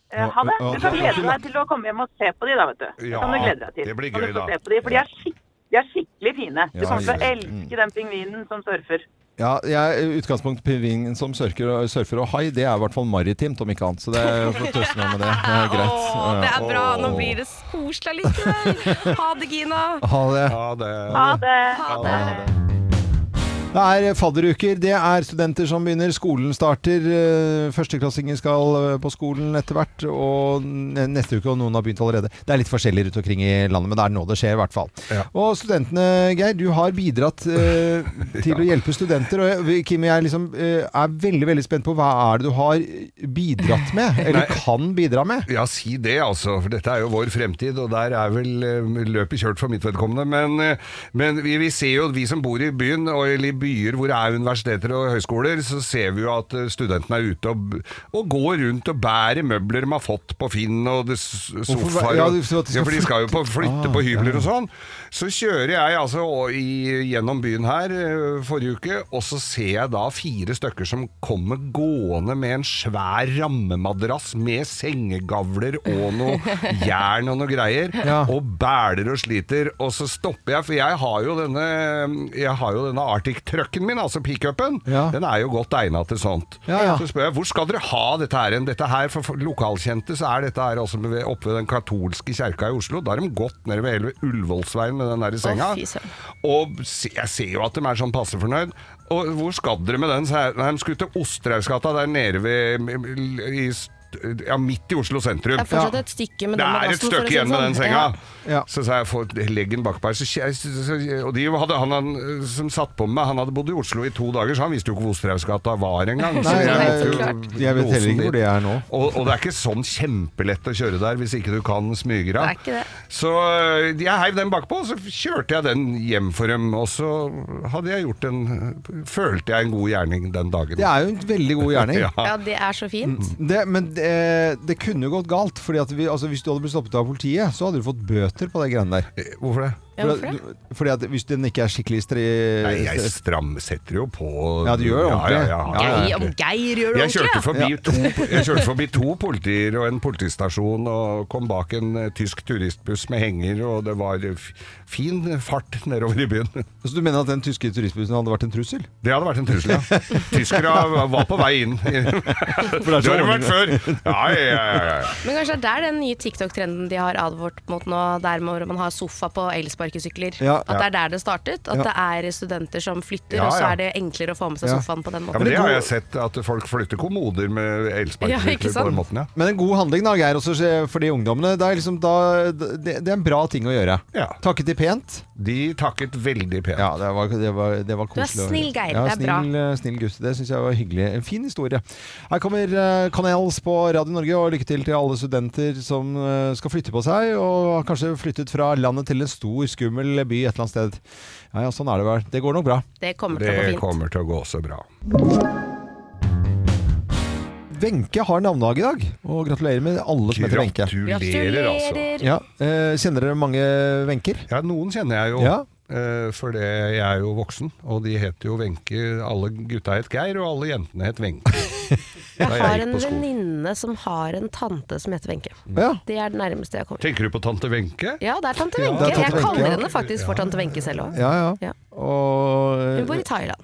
Speaker 5: Eh, Ha det.
Speaker 1: Ja,
Speaker 5: Du kan
Speaker 1: ja,
Speaker 5: glede deg til å komme hjem og se på de, da, vet du. Det
Speaker 3: Ja,
Speaker 5: kan du glede deg til.
Speaker 3: det blir
Speaker 5: Kan du få
Speaker 3: gøy, da.
Speaker 5: se på de, For de er, skik de er skikkelig fine. Du
Speaker 1: Ja,
Speaker 5: kommer til å
Speaker 1: ja.
Speaker 5: elske den pingvinen som surfer.
Speaker 1: Ja, jeg, utgangspunkt pingvinen som surfer og, surfer og hai, det er i hvert fall maritimt, om ikke annet. Så det er for å trøste meg med det. Det er greit.
Speaker 2: Åh, det er bra. Nå
Speaker 1: Åh.
Speaker 2: blir det koselig allikevel. Ha det, Gina.
Speaker 1: Ha det.
Speaker 3: Ja, det
Speaker 5: Ha det.
Speaker 2: Ha det.
Speaker 1: Det er fadderuker. Det er studenter som begynner. Skolen starter. eh, Førsteklassinger skal eh, på skolen etter hvert. Og n- neste uke, og noen har begynt allerede. Det er litt forskjellig rundt omkring i landet, men det er nå det skjer, i hvert fall.
Speaker 3: Ja.
Speaker 1: Og studentene, Geir, du har bidratt eh, til å hjelpe studenter. Og jeg- Kim, jeg liksom, eh, er veldig veldig spent på hva er det du har bidratt med? Eller kan bidra med?
Speaker 3: Ja, si det, altså. For dette er jo vår fremtid, og der er vel eh, løpet kjørt for mitt vedkommende. Men, eh, men vi, vi ser jo, vi som bor i byen, og eller i byer hvor det er universiteter og høyskoler, så ser vi jo at eh, studentene er ute og, b- og går rundt og bærer møbler de har fått på Finn, og det, s-
Speaker 1: hva-
Speaker 3: sofaer
Speaker 1: ja,
Speaker 3: og-
Speaker 1: du- så at de skal
Speaker 3: Ja, for de skal jo på, flytte
Speaker 1: Ah,
Speaker 3: på hybler og sånn. Så kjører jeg altså å- i, gjennom byen her eh, forrige uke, og så ser jeg da fire stykker som kommer gående med en svær rammemadrass med sengegavler og noe jern og noe greier,
Speaker 1: Ja.
Speaker 3: og bæler og sliter, og så stopper jeg, for jeg har jo denne, jeg har jo denne Arctic-trøkken min, altså pickupen,
Speaker 1: Ja.
Speaker 3: den er jo godt egnet til sånt.
Speaker 1: Ja, ja.
Speaker 3: Så spør jeg, hvor skal dere ha dette her? hen? Dette her, for for lokalkjente, så er dette her altså ved- oppe ved den katolske kjerka i Oslo, da har de gått nede ved hele Ullevålsveien med den der i senga.
Speaker 2: fy søren.
Speaker 3: Og se, jeg ser jo at de er sånn passe fornøyd. Og hvor skal dere med den? sa jeg. Nei, de skulle til Osterhaugskata der nede ved i, st- ja, midt i Oslo sentrum.
Speaker 2: Det er fortsatt et stykke med
Speaker 3: Det
Speaker 2: den
Speaker 3: er et
Speaker 2: madrassen, for å si
Speaker 3: stykke
Speaker 2: det
Speaker 3: igjen med
Speaker 2: sånn.
Speaker 3: den senga.
Speaker 1: Ja. Ja.
Speaker 3: Så sa jeg få legg den bak meg. Så, kje- så, så, og de hadde, han, han som satt på meg, han hadde bodd i Oslo i to dager, så han visste jo ikke hvor Osterhaugskata var engang. Så
Speaker 1: Nei,
Speaker 3: jeg
Speaker 1: jeg,
Speaker 3: måtte jo
Speaker 1: jeg vet heller
Speaker 3: låse den
Speaker 1: ikke hvor det
Speaker 3: dit.
Speaker 1: er nå.
Speaker 3: Og, og det er ikke sånn kjempelett å kjøre der hvis ikke du kan smygra.
Speaker 2: Det er ikke det.
Speaker 3: Så øh, jeg heiv den bakpå, og så kjørte jeg den hjem for dem. Og så hadde jeg gjort en Følte jeg en god gjerning den dagen.
Speaker 1: Det er jo en veldig god gjerning.
Speaker 3: Ja.
Speaker 2: Ja, det er så fint.
Speaker 1: Mm. Det, men det, det kunne jo gått galt. Fordi at vi, altså, Hvis du hadde blitt stoppet av politiet, så hadde du fått bøter på de greiene der.
Speaker 3: Hvorfor det?
Speaker 2: Ja,
Speaker 1: Fordi
Speaker 2: hvorfor
Speaker 1: at-
Speaker 2: det?
Speaker 1: Fordi at hvis den ikke er skikkelig stri...
Speaker 3: Nei, jeg stramsetter jo på
Speaker 1: Eh, Ja, du gjør det
Speaker 3: Ja, ja,
Speaker 1: ordentlig.
Speaker 3: ja, ja,
Speaker 1: Ja,
Speaker 2: Geir,
Speaker 3: ordentlig.
Speaker 2: Geir gjør det
Speaker 3: Jeg kjørte,
Speaker 2: ordentlig.
Speaker 3: forbi to, jeg kjørte forbi to politier og en politistasjon og kom bak en eh, tysk turistbuss med henger, og det var eh, f- fin fart nedover i byen.
Speaker 1: Så Altså, du mener at den tyske turistbussen hadde vært en trussel?
Speaker 3: Det hadde vært en trussel, ja. Tyskere var på vei inn.
Speaker 1: For det
Speaker 3: Det har de vært før. Ja, ja, ja, ja.
Speaker 2: Men kanskje det er der den nye TikTok-trenden de har advart mot nå, der hvor man har sofa på elsparkesykler.
Speaker 1: Ja.
Speaker 2: At det er der det startet. At
Speaker 1: Ja.
Speaker 2: det er studenter som flytter,
Speaker 3: Ja,
Speaker 2: og så
Speaker 3: ja.
Speaker 2: er det enklere å få med seg
Speaker 1: Ja.
Speaker 2: sofaen på den
Speaker 3: ja
Speaker 2: måten.
Speaker 3: men det har jeg sett, at folk flytter kommoder med
Speaker 2: Ja, ikke
Speaker 3: elsparkesykler på
Speaker 2: sant?
Speaker 3: den måten, ja.
Speaker 1: Men en god handling da, Geir, også se- for de ungdommene. Det er, liksom da, det, det er en bra ting å gjøre.
Speaker 3: Ja.
Speaker 1: Takket de pent.
Speaker 3: De takket veldig pent.
Speaker 1: Ja, det var, det var, det var
Speaker 2: er
Speaker 1: koselig. å høre.
Speaker 2: snill, Geir.
Speaker 1: Ja,
Speaker 2: Det er bra.
Speaker 1: snill, eh, Snill gutt. Det syns jeg var hyggelig. En fin historie. Her kommer eh, Canels på Radio Norge, og lykke til til alle studenter som eh, skal flytte på seg, og har kanskje flyttet fra landet til en stor, skummel by et eller annet sted. Ja, ja, sånn er det vel. Det går nok bra.
Speaker 2: Det kommer til å gå
Speaker 3: Det
Speaker 2: fint.
Speaker 3: kommer til å gå så bra.
Speaker 1: Wenche har navnedag i dag, og gratulerer med alle som heter Wenche.
Speaker 3: Gratulerer, altså.
Speaker 2: Gratulerer.
Speaker 1: Ja, eh, kjenner dere mange Wencher?
Speaker 3: Ja, noen kjenner jeg jo.
Speaker 1: Ja.
Speaker 3: eh, For det, jeg er jo voksen, og de heter jo Wenche. Alle gutta het Geir, og alle jentene het Wenche.
Speaker 2: Jeg
Speaker 3: Da
Speaker 2: har
Speaker 3: gikk
Speaker 2: en
Speaker 3: på skolen.
Speaker 2: venninne som har en tante som heter Wenche.
Speaker 1: Ja.
Speaker 2: Det er det nærmeste jeg kommer.
Speaker 3: Tenker du på tante Wenche?
Speaker 2: Ja, det er tante
Speaker 1: Ja,
Speaker 2: Wenche.
Speaker 1: det er tante
Speaker 2: jeg kaller
Speaker 1: Wenche, ja.
Speaker 2: henne faktisk for tante Wenche selv òg.
Speaker 1: Ja, ja.
Speaker 2: Ja.
Speaker 1: Og eh,
Speaker 2: Hun bor i Thailand.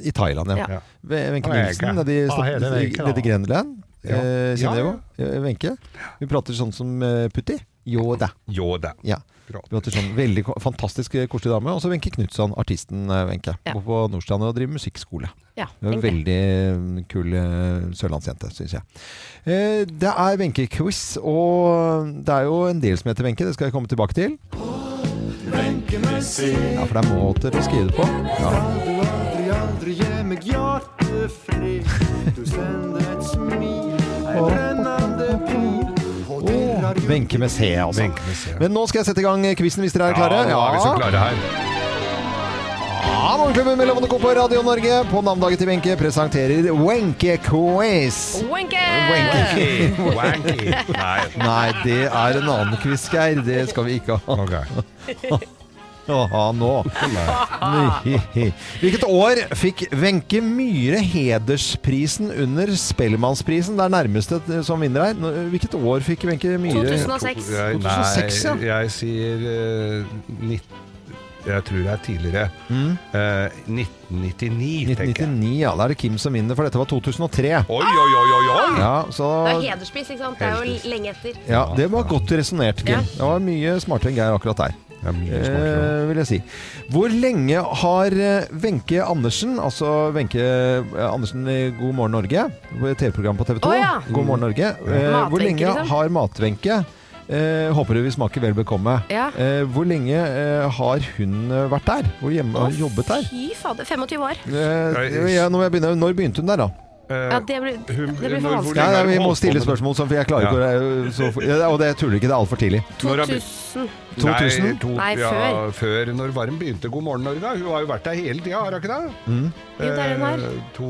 Speaker 1: I Thailand, ja.
Speaker 2: Ja.
Speaker 1: Ve- Wenche
Speaker 3: Ah, jeg
Speaker 1: Nilsen
Speaker 3: ikke.
Speaker 1: nede i
Speaker 3: Ah,
Speaker 1: Stad-
Speaker 3: hele Wenche, da.
Speaker 1: nede i Grenland.
Speaker 3: Ja.
Speaker 1: Eh,
Speaker 3: Ja,
Speaker 1: kjenner dere jo eh, Wenche? Hun prater sånn som eh, Putti. Jo da.
Speaker 3: Jo da.
Speaker 1: Ja.
Speaker 3: Bra.
Speaker 1: Hun prater sånn veldig ko- fantastisk eh, koselig dame. Og så Wenche Knutson, artisten eh, Wenche.
Speaker 2: Ja.
Speaker 1: Bor på Nordstrand og driver musikkskole.
Speaker 2: Ja,
Speaker 1: Hun er en
Speaker 2: egentlig.
Speaker 1: veldig eh, kul eh, sørlandsjente, syns jeg. Eh, Det er Wenche-quiz, og det er jo en del som heter Wenche. Det skal jeg komme tilbake til. Ja, for det er måter å skrive det på. Ja.
Speaker 6: Du aldri, aldri gir meg hjertefred. Du sender et smil, ei brennende pil. Og
Speaker 1: Åh,
Speaker 6: dirrer jo
Speaker 1: Wenche med C, altså.
Speaker 3: Wenche med C.
Speaker 1: Men nå skal jeg sette i gang quizen, hvis dere er klare.
Speaker 3: Ja, nå er vi så klare her.
Speaker 1: Ja, Morgenklubben med Lovende Co på Radio Norge på navnedagen til Wenche presenterer Wenche-quiz.
Speaker 2: Wenche!
Speaker 3: Wanky. Wanky. Nei.
Speaker 1: Nei, det er en annen quiz, Geir. Det skal vi ikke ha,
Speaker 3: Ok.
Speaker 1: ha nå. Nei. Hvilket år fikk Wenche Myhre hedersprisen under Spellemannsprisen? Det er nærmeste eh, som vinner her. Nå- Hvilket år fikk Wenche Myhre
Speaker 2: 2006.
Speaker 3: Jeg-
Speaker 1: 2006, ja.
Speaker 3: Nei, jeg sier eh, nitt- Jeg tror det er tidligere.
Speaker 1: Mm.
Speaker 3: Eh, 1999, tenker jeg.
Speaker 1: 1999, ja. Da er det Kim som vinner, for dette var 2003.
Speaker 3: Oi, oi, oi, oi, oi!
Speaker 1: Ja, så
Speaker 2: Det er hederspris, ikke sant? Det er
Speaker 3: Hederspris.
Speaker 2: jo lenge etter.
Speaker 1: ja, Det var godt resonnert, Kim.
Speaker 2: Ja.
Speaker 1: Det var mye smartere enn Geir akkurat der.
Speaker 3: Det er mye smartere.
Speaker 1: Eh, vil jeg si. Hvor lenge har eh, Wenche Andersen, altså Wenche eh, Andersen i God morgen Norge, TV-program på TV 2,
Speaker 2: Å, ja.
Speaker 1: God morgen Norge, eh, hvor
Speaker 2: Matvenke,
Speaker 1: lenge
Speaker 2: liksom.
Speaker 1: har Matvenke eh, håper du vi smaker vel bekomme.
Speaker 2: Ja.
Speaker 1: Eh, hvor lenge eh, har hun eh, vært der? Hvor hjemme, har hun jobbet der?
Speaker 2: Fy fader. 25 år.
Speaker 1: Eh, ja, nå må jeg begynne. Når begynte hun der, da?
Speaker 3: Eh,
Speaker 2: Ja, det blir,
Speaker 3: hun-
Speaker 2: det blir for
Speaker 3: når- hvor
Speaker 1: Ja,
Speaker 2: vanskelig.
Speaker 3: lenge
Speaker 1: ja,
Speaker 3: har hun
Speaker 1: vi må
Speaker 3: holdt på
Speaker 1: stille
Speaker 3: med det?
Speaker 1: spørsmål, sånn, for jeg klarer ikke å eh, så, ja, Og det jeg tuller ikke, det er altfor tidlig.
Speaker 3: Når har begynt-
Speaker 2: 2000.
Speaker 1: 2000?
Speaker 3: Nei, to,
Speaker 2: Nei,
Speaker 3: ja, før. Når Varm begynte God morgen Norge. Hun har jo vært der hele tida, har hun ikke det?
Speaker 2: Jo, det er hun her.
Speaker 3: Eh, To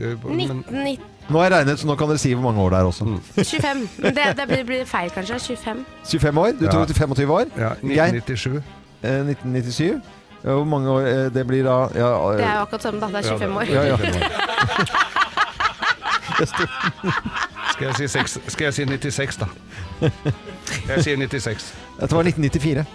Speaker 3: eh, men,
Speaker 2: 19,
Speaker 1: Nå har jeg regnet, så nå kan dere si hvor mange år det er
Speaker 3: Mm.
Speaker 1: også.
Speaker 2: 25. Men Det, det blir, blir feil, kanskje. 25.
Speaker 1: 25 år? Du
Speaker 3: Ja.
Speaker 1: tok 25 år?
Speaker 3: ja,
Speaker 1: Geir?
Speaker 3: 1997.
Speaker 1: Eh, 1997. Eh, Hvor mange år eh, det blir da? Ja, eh,
Speaker 2: Det er jo akkurat samme, da. Det er 25 år.
Speaker 1: Ja, ja.
Speaker 3: Skal jeg, si seks, skal jeg si 96, da? Jeg sier 96.
Speaker 1: Dette var 1994.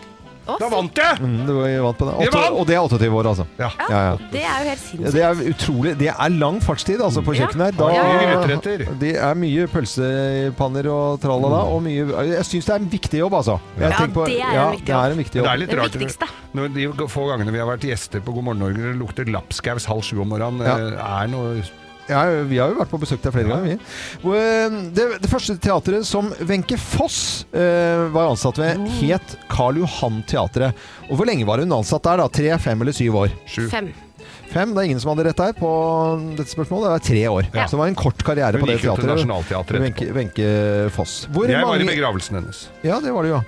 Speaker 2: Å,
Speaker 3: Da vant jeg!
Speaker 1: Mm, du vant på det.
Speaker 3: Jeg
Speaker 1: Åtte,
Speaker 3: vant!
Speaker 1: og det er 28 år, altså.
Speaker 3: Ja.
Speaker 1: Ja, ja.
Speaker 2: Det er jo helt
Speaker 1: Ja,
Speaker 2: sinnssykt.
Speaker 1: Det er utrolig Det er lang fartstid altså, på
Speaker 2: Ja.
Speaker 1: kjøkkenet her.
Speaker 2: Ja,
Speaker 3: ja, ja. Gryteretter.
Speaker 1: det er mye pølsepanner og tralala. Og mye, jeg syns det er en viktig jobb, altså. Jeg
Speaker 2: Ja,
Speaker 1: tenker
Speaker 2: det er en
Speaker 1: ja,
Speaker 2: viktig
Speaker 1: det er en viktig
Speaker 3: Men
Speaker 1: jobb.
Speaker 3: litt
Speaker 2: Det
Speaker 3: rart,
Speaker 2: viktigste.
Speaker 3: Når de få gangene vi har vært gjester på God morgen Norge, det lukter lapskaus halv sju om morgenen.
Speaker 1: Ja.
Speaker 3: eh, Er noe
Speaker 1: Ja, vi har jo vært på besøk der flere ganger. Vi. Hvor, eh, Det, det første teatret som Wenche Foss eh, var ansatt ved,
Speaker 3: Oh.
Speaker 1: het Karl Johan Teatret. Og hvor lenge var hun ansatt der? da? Tre, fem eller syv år?
Speaker 3: sju.
Speaker 2: Fem.
Speaker 1: Fem, det er ingen som hadde rett her på dette spørsmålet. Det var tre år.
Speaker 2: Ja.
Speaker 1: Så det var en kort karriere
Speaker 3: Hun
Speaker 1: på det
Speaker 3: gikk jo til
Speaker 1: teatret.
Speaker 3: Nationaltheatret
Speaker 1: Wenche,
Speaker 3: etterpå.
Speaker 1: Wenche Foss. Hvor
Speaker 3: Jeg var i Mm.
Speaker 1: mange,
Speaker 3: begravelsen hennes.
Speaker 1: ja, det var det jo.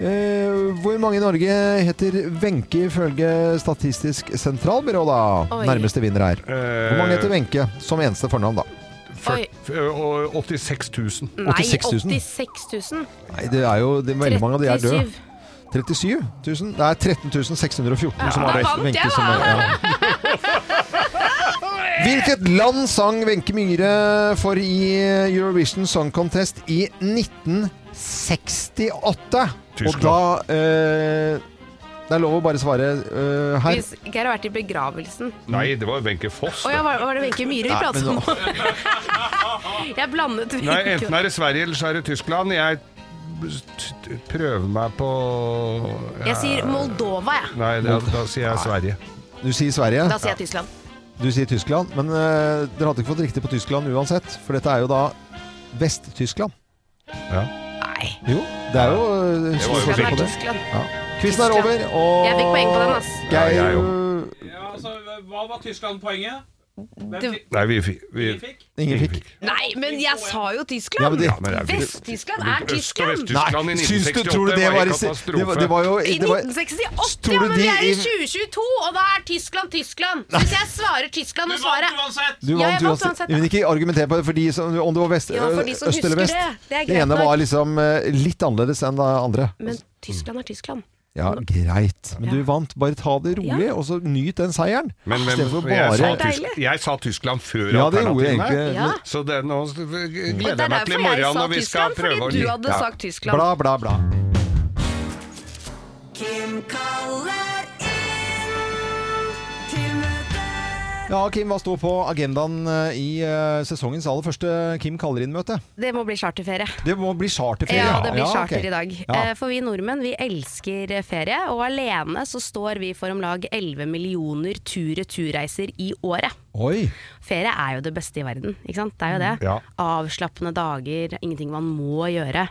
Speaker 1: Eh, hvor mange i Norge heter Wenche ifølge Statistisk sentralbyrå, da?
Speaker 2: Oi.
Speaker 1: Nærmeste vinner her.
Speaker 3: Eh,
Speaker 1: Hvor mange heter
Speaker 3: vi?
Speaker 1: Wenche som eneste fornavn, da?
Speaker 3: Eh,
Speaker 2: Oi.
Speaker 3: 86 000.
Speaker 2: Nei,
Speaker 1: 86 000.
Speaker 2: 86 000.
Speaker 1: Nei, det er jo det, veldig mange av de er døde.
Speaker 2: 37.
Speaker 1: 37 000? Det er 13 614 som
Speaker 2: da
Speaker 1: har det.
Speaker 2: vant jeg,
Speaker 1: Wenche
Speaker 2: da!
Speaker 1: som er, ja. Hvilket land sang Wenche Myhre for i Eurovision Song Contest i 1968? Og
Speaker 3: Tyskland.
Speaker 1: da eh, Det er lov å bare svare eh, her.
Speaker 2: Hvis Geir har vært i begravelsen.
Speaker 3: Nei, det var Wenche Foss.
Speaker 2: Å ja,
Speaker 3: det.
Speaker 2: var, var det Wenche Myhre vi pratet om? Jeg blandet
Speaker 3: Nei, enten er det Sverige eller så er det Tyskland. Jeg t- t- prøver meg på
Speaker 2: Jeg sier Moldova, jeg.
Speaker 3: Nei, da, da sier jeg Sverige.
Speaker 1: Du sier Sverige,
Speaker 2: Da sier jeg Tyskland.
Speaker 1: du sier Tyskland. Men eh, dere hadde ikke fått riktig på Tyskland uansett, for dette er jo da Vest-Tyskland.
Speaker 3: Ja.
Speaker 2: Nei.
Speaker 1: Jo, det er jo eh,
Speaker 3: var jo
Speaker 1: se på
Speaker 2: Hvem
Speaker 3: sikkert
Speaker 2: er
Speaker 1: det.
Speaker 2: Tyskland?
Speaker 1: Ja. Quizen er over, og
Speaker 2: Jeg fikk poeng på den, ass.
Speaker 1: Geir-
Speaker 3: Ja, jeg
Speaker 7: Ja, altså, hva var Tyskland-poenget? Hvem
Speaker 2: Du-
Speaker 7: fikk-
Speaker 3: Nei, vi, fikk- vi,
Speaker 7: vi fikk?
Speaker 1: Ingen fikk.
Speaker 2: Nei, men jeg sa jo
Speaker 1: Ja,
Speaker 2: Tyskland!
Speaker 1: men det-
Speaker 3: men det er vel-
Speaker 2: Vest-Tyskland er
Speaker 3: Øst- og
Speaker 2: Tyskland!
Speaker 3: Vest-Tyskland i
Speaker 1: Nei,
Speaker 3: 1968
Speaker 1: syns du tror du det var i det
Speaker 3: en
Speaker 1: var,
Speaker 3: katastrofe.
Speaker 1: det var jo
Speaker 2: I
Speaker 1: det var,
Speaker 2: 1968,
Speaker 1: Tror
Speaker 2: ja,
Speaker 1: du
Speaker 2: men
Speaker 1: de
Speaker 2: vi er i
Speaker 1: i-
Speaker 2: 2022, og da er Tyskland Tyskland. Så hvis jeg svarer Tyskland
Speaker 7: Du
Speaker 2: og
Speaker 7: vant
Speaker 2: svaret
Speaker 7: uansett!
Speaker 1: Du
Speaker 2: Ja,
Speaker 1: vant
Speaker 2: jeg vant
Speaker 1: uansett.
Speaker 2: uansett, da.
Speaker 1: Men ikke argumenter på det, for de som, om det var vest,
Speaker 2: Ja, for de som
Speaker 1: øst eller
Speaker 2: husker
Speaker 1: vest.
Speaker 2: det. Det er greit
Speaker 1: ene
Speaker 2: nok.
Speaker 1: var liksom eh, litt annerledes enn det andre.
Speaker 2: Men Tyskland er Tyskland.
Speaker 1: Ja, greit. Men
Speaker 2: Mm. Ja.
Speaker 1: du vant. Bare ta det rolig, og så nyt den seieren.
Speaker 3: Men, men
Speaker 1: Istedenfor
Speaker 3: jeg, sa
Speaker 1: Ah, bare
Speaker 2: Det er
Speaker 3: Tysk, jeg sa Tyskland før
Speaker 1: Ja, det gjorde jeg
Speaker 3: alternativene.
Speaker 1: egentlig.
Speaker 2: Ja.
Speaker 3: Så det, nå
Speaker 2: Og
Speaker 3: gleder
Speaker 2: det
Speaker 3: jeg
Speaker 2: er
Speaker 3: meg til i
Speaker 2: derfor jeg
Speaker 3: morgen
Speaker 2: sa
Speaker 3: når vi skal
Speaker 2: Tyskland,
Speaker 3: prøve å
Speaker 2: fordi du
Speaker 3: lytte.
Speaker 2: hadde sagt Tyskland.
Speaker 1: Bla, bla, bla. Ja, Kim, hva står på agendaen eh, i eh, sesongens aller første Kim kaller inn-møte?
Speaker 2: Det må bli charterferie.
Speaker 1: Det må bli charterferie.
Speaker 2: Ja, det blir charter
Speaker 1: ok.
Speaker 2: i dag.
Speaker 1: Ja.
Speaker 2: Eh, For vi nordmenn vi elsker eh, ferie, og alene så står vi for om lag 11 millioner tur-retur-reiser i året.
Speaker 1: Oi.
Speaker 2: Ferie er jo det beste i verden, ikke sant? Det er jo det.
Speaker 3: Ja.
Speaker 2: Avslappende dager, ingenting man må gjøre.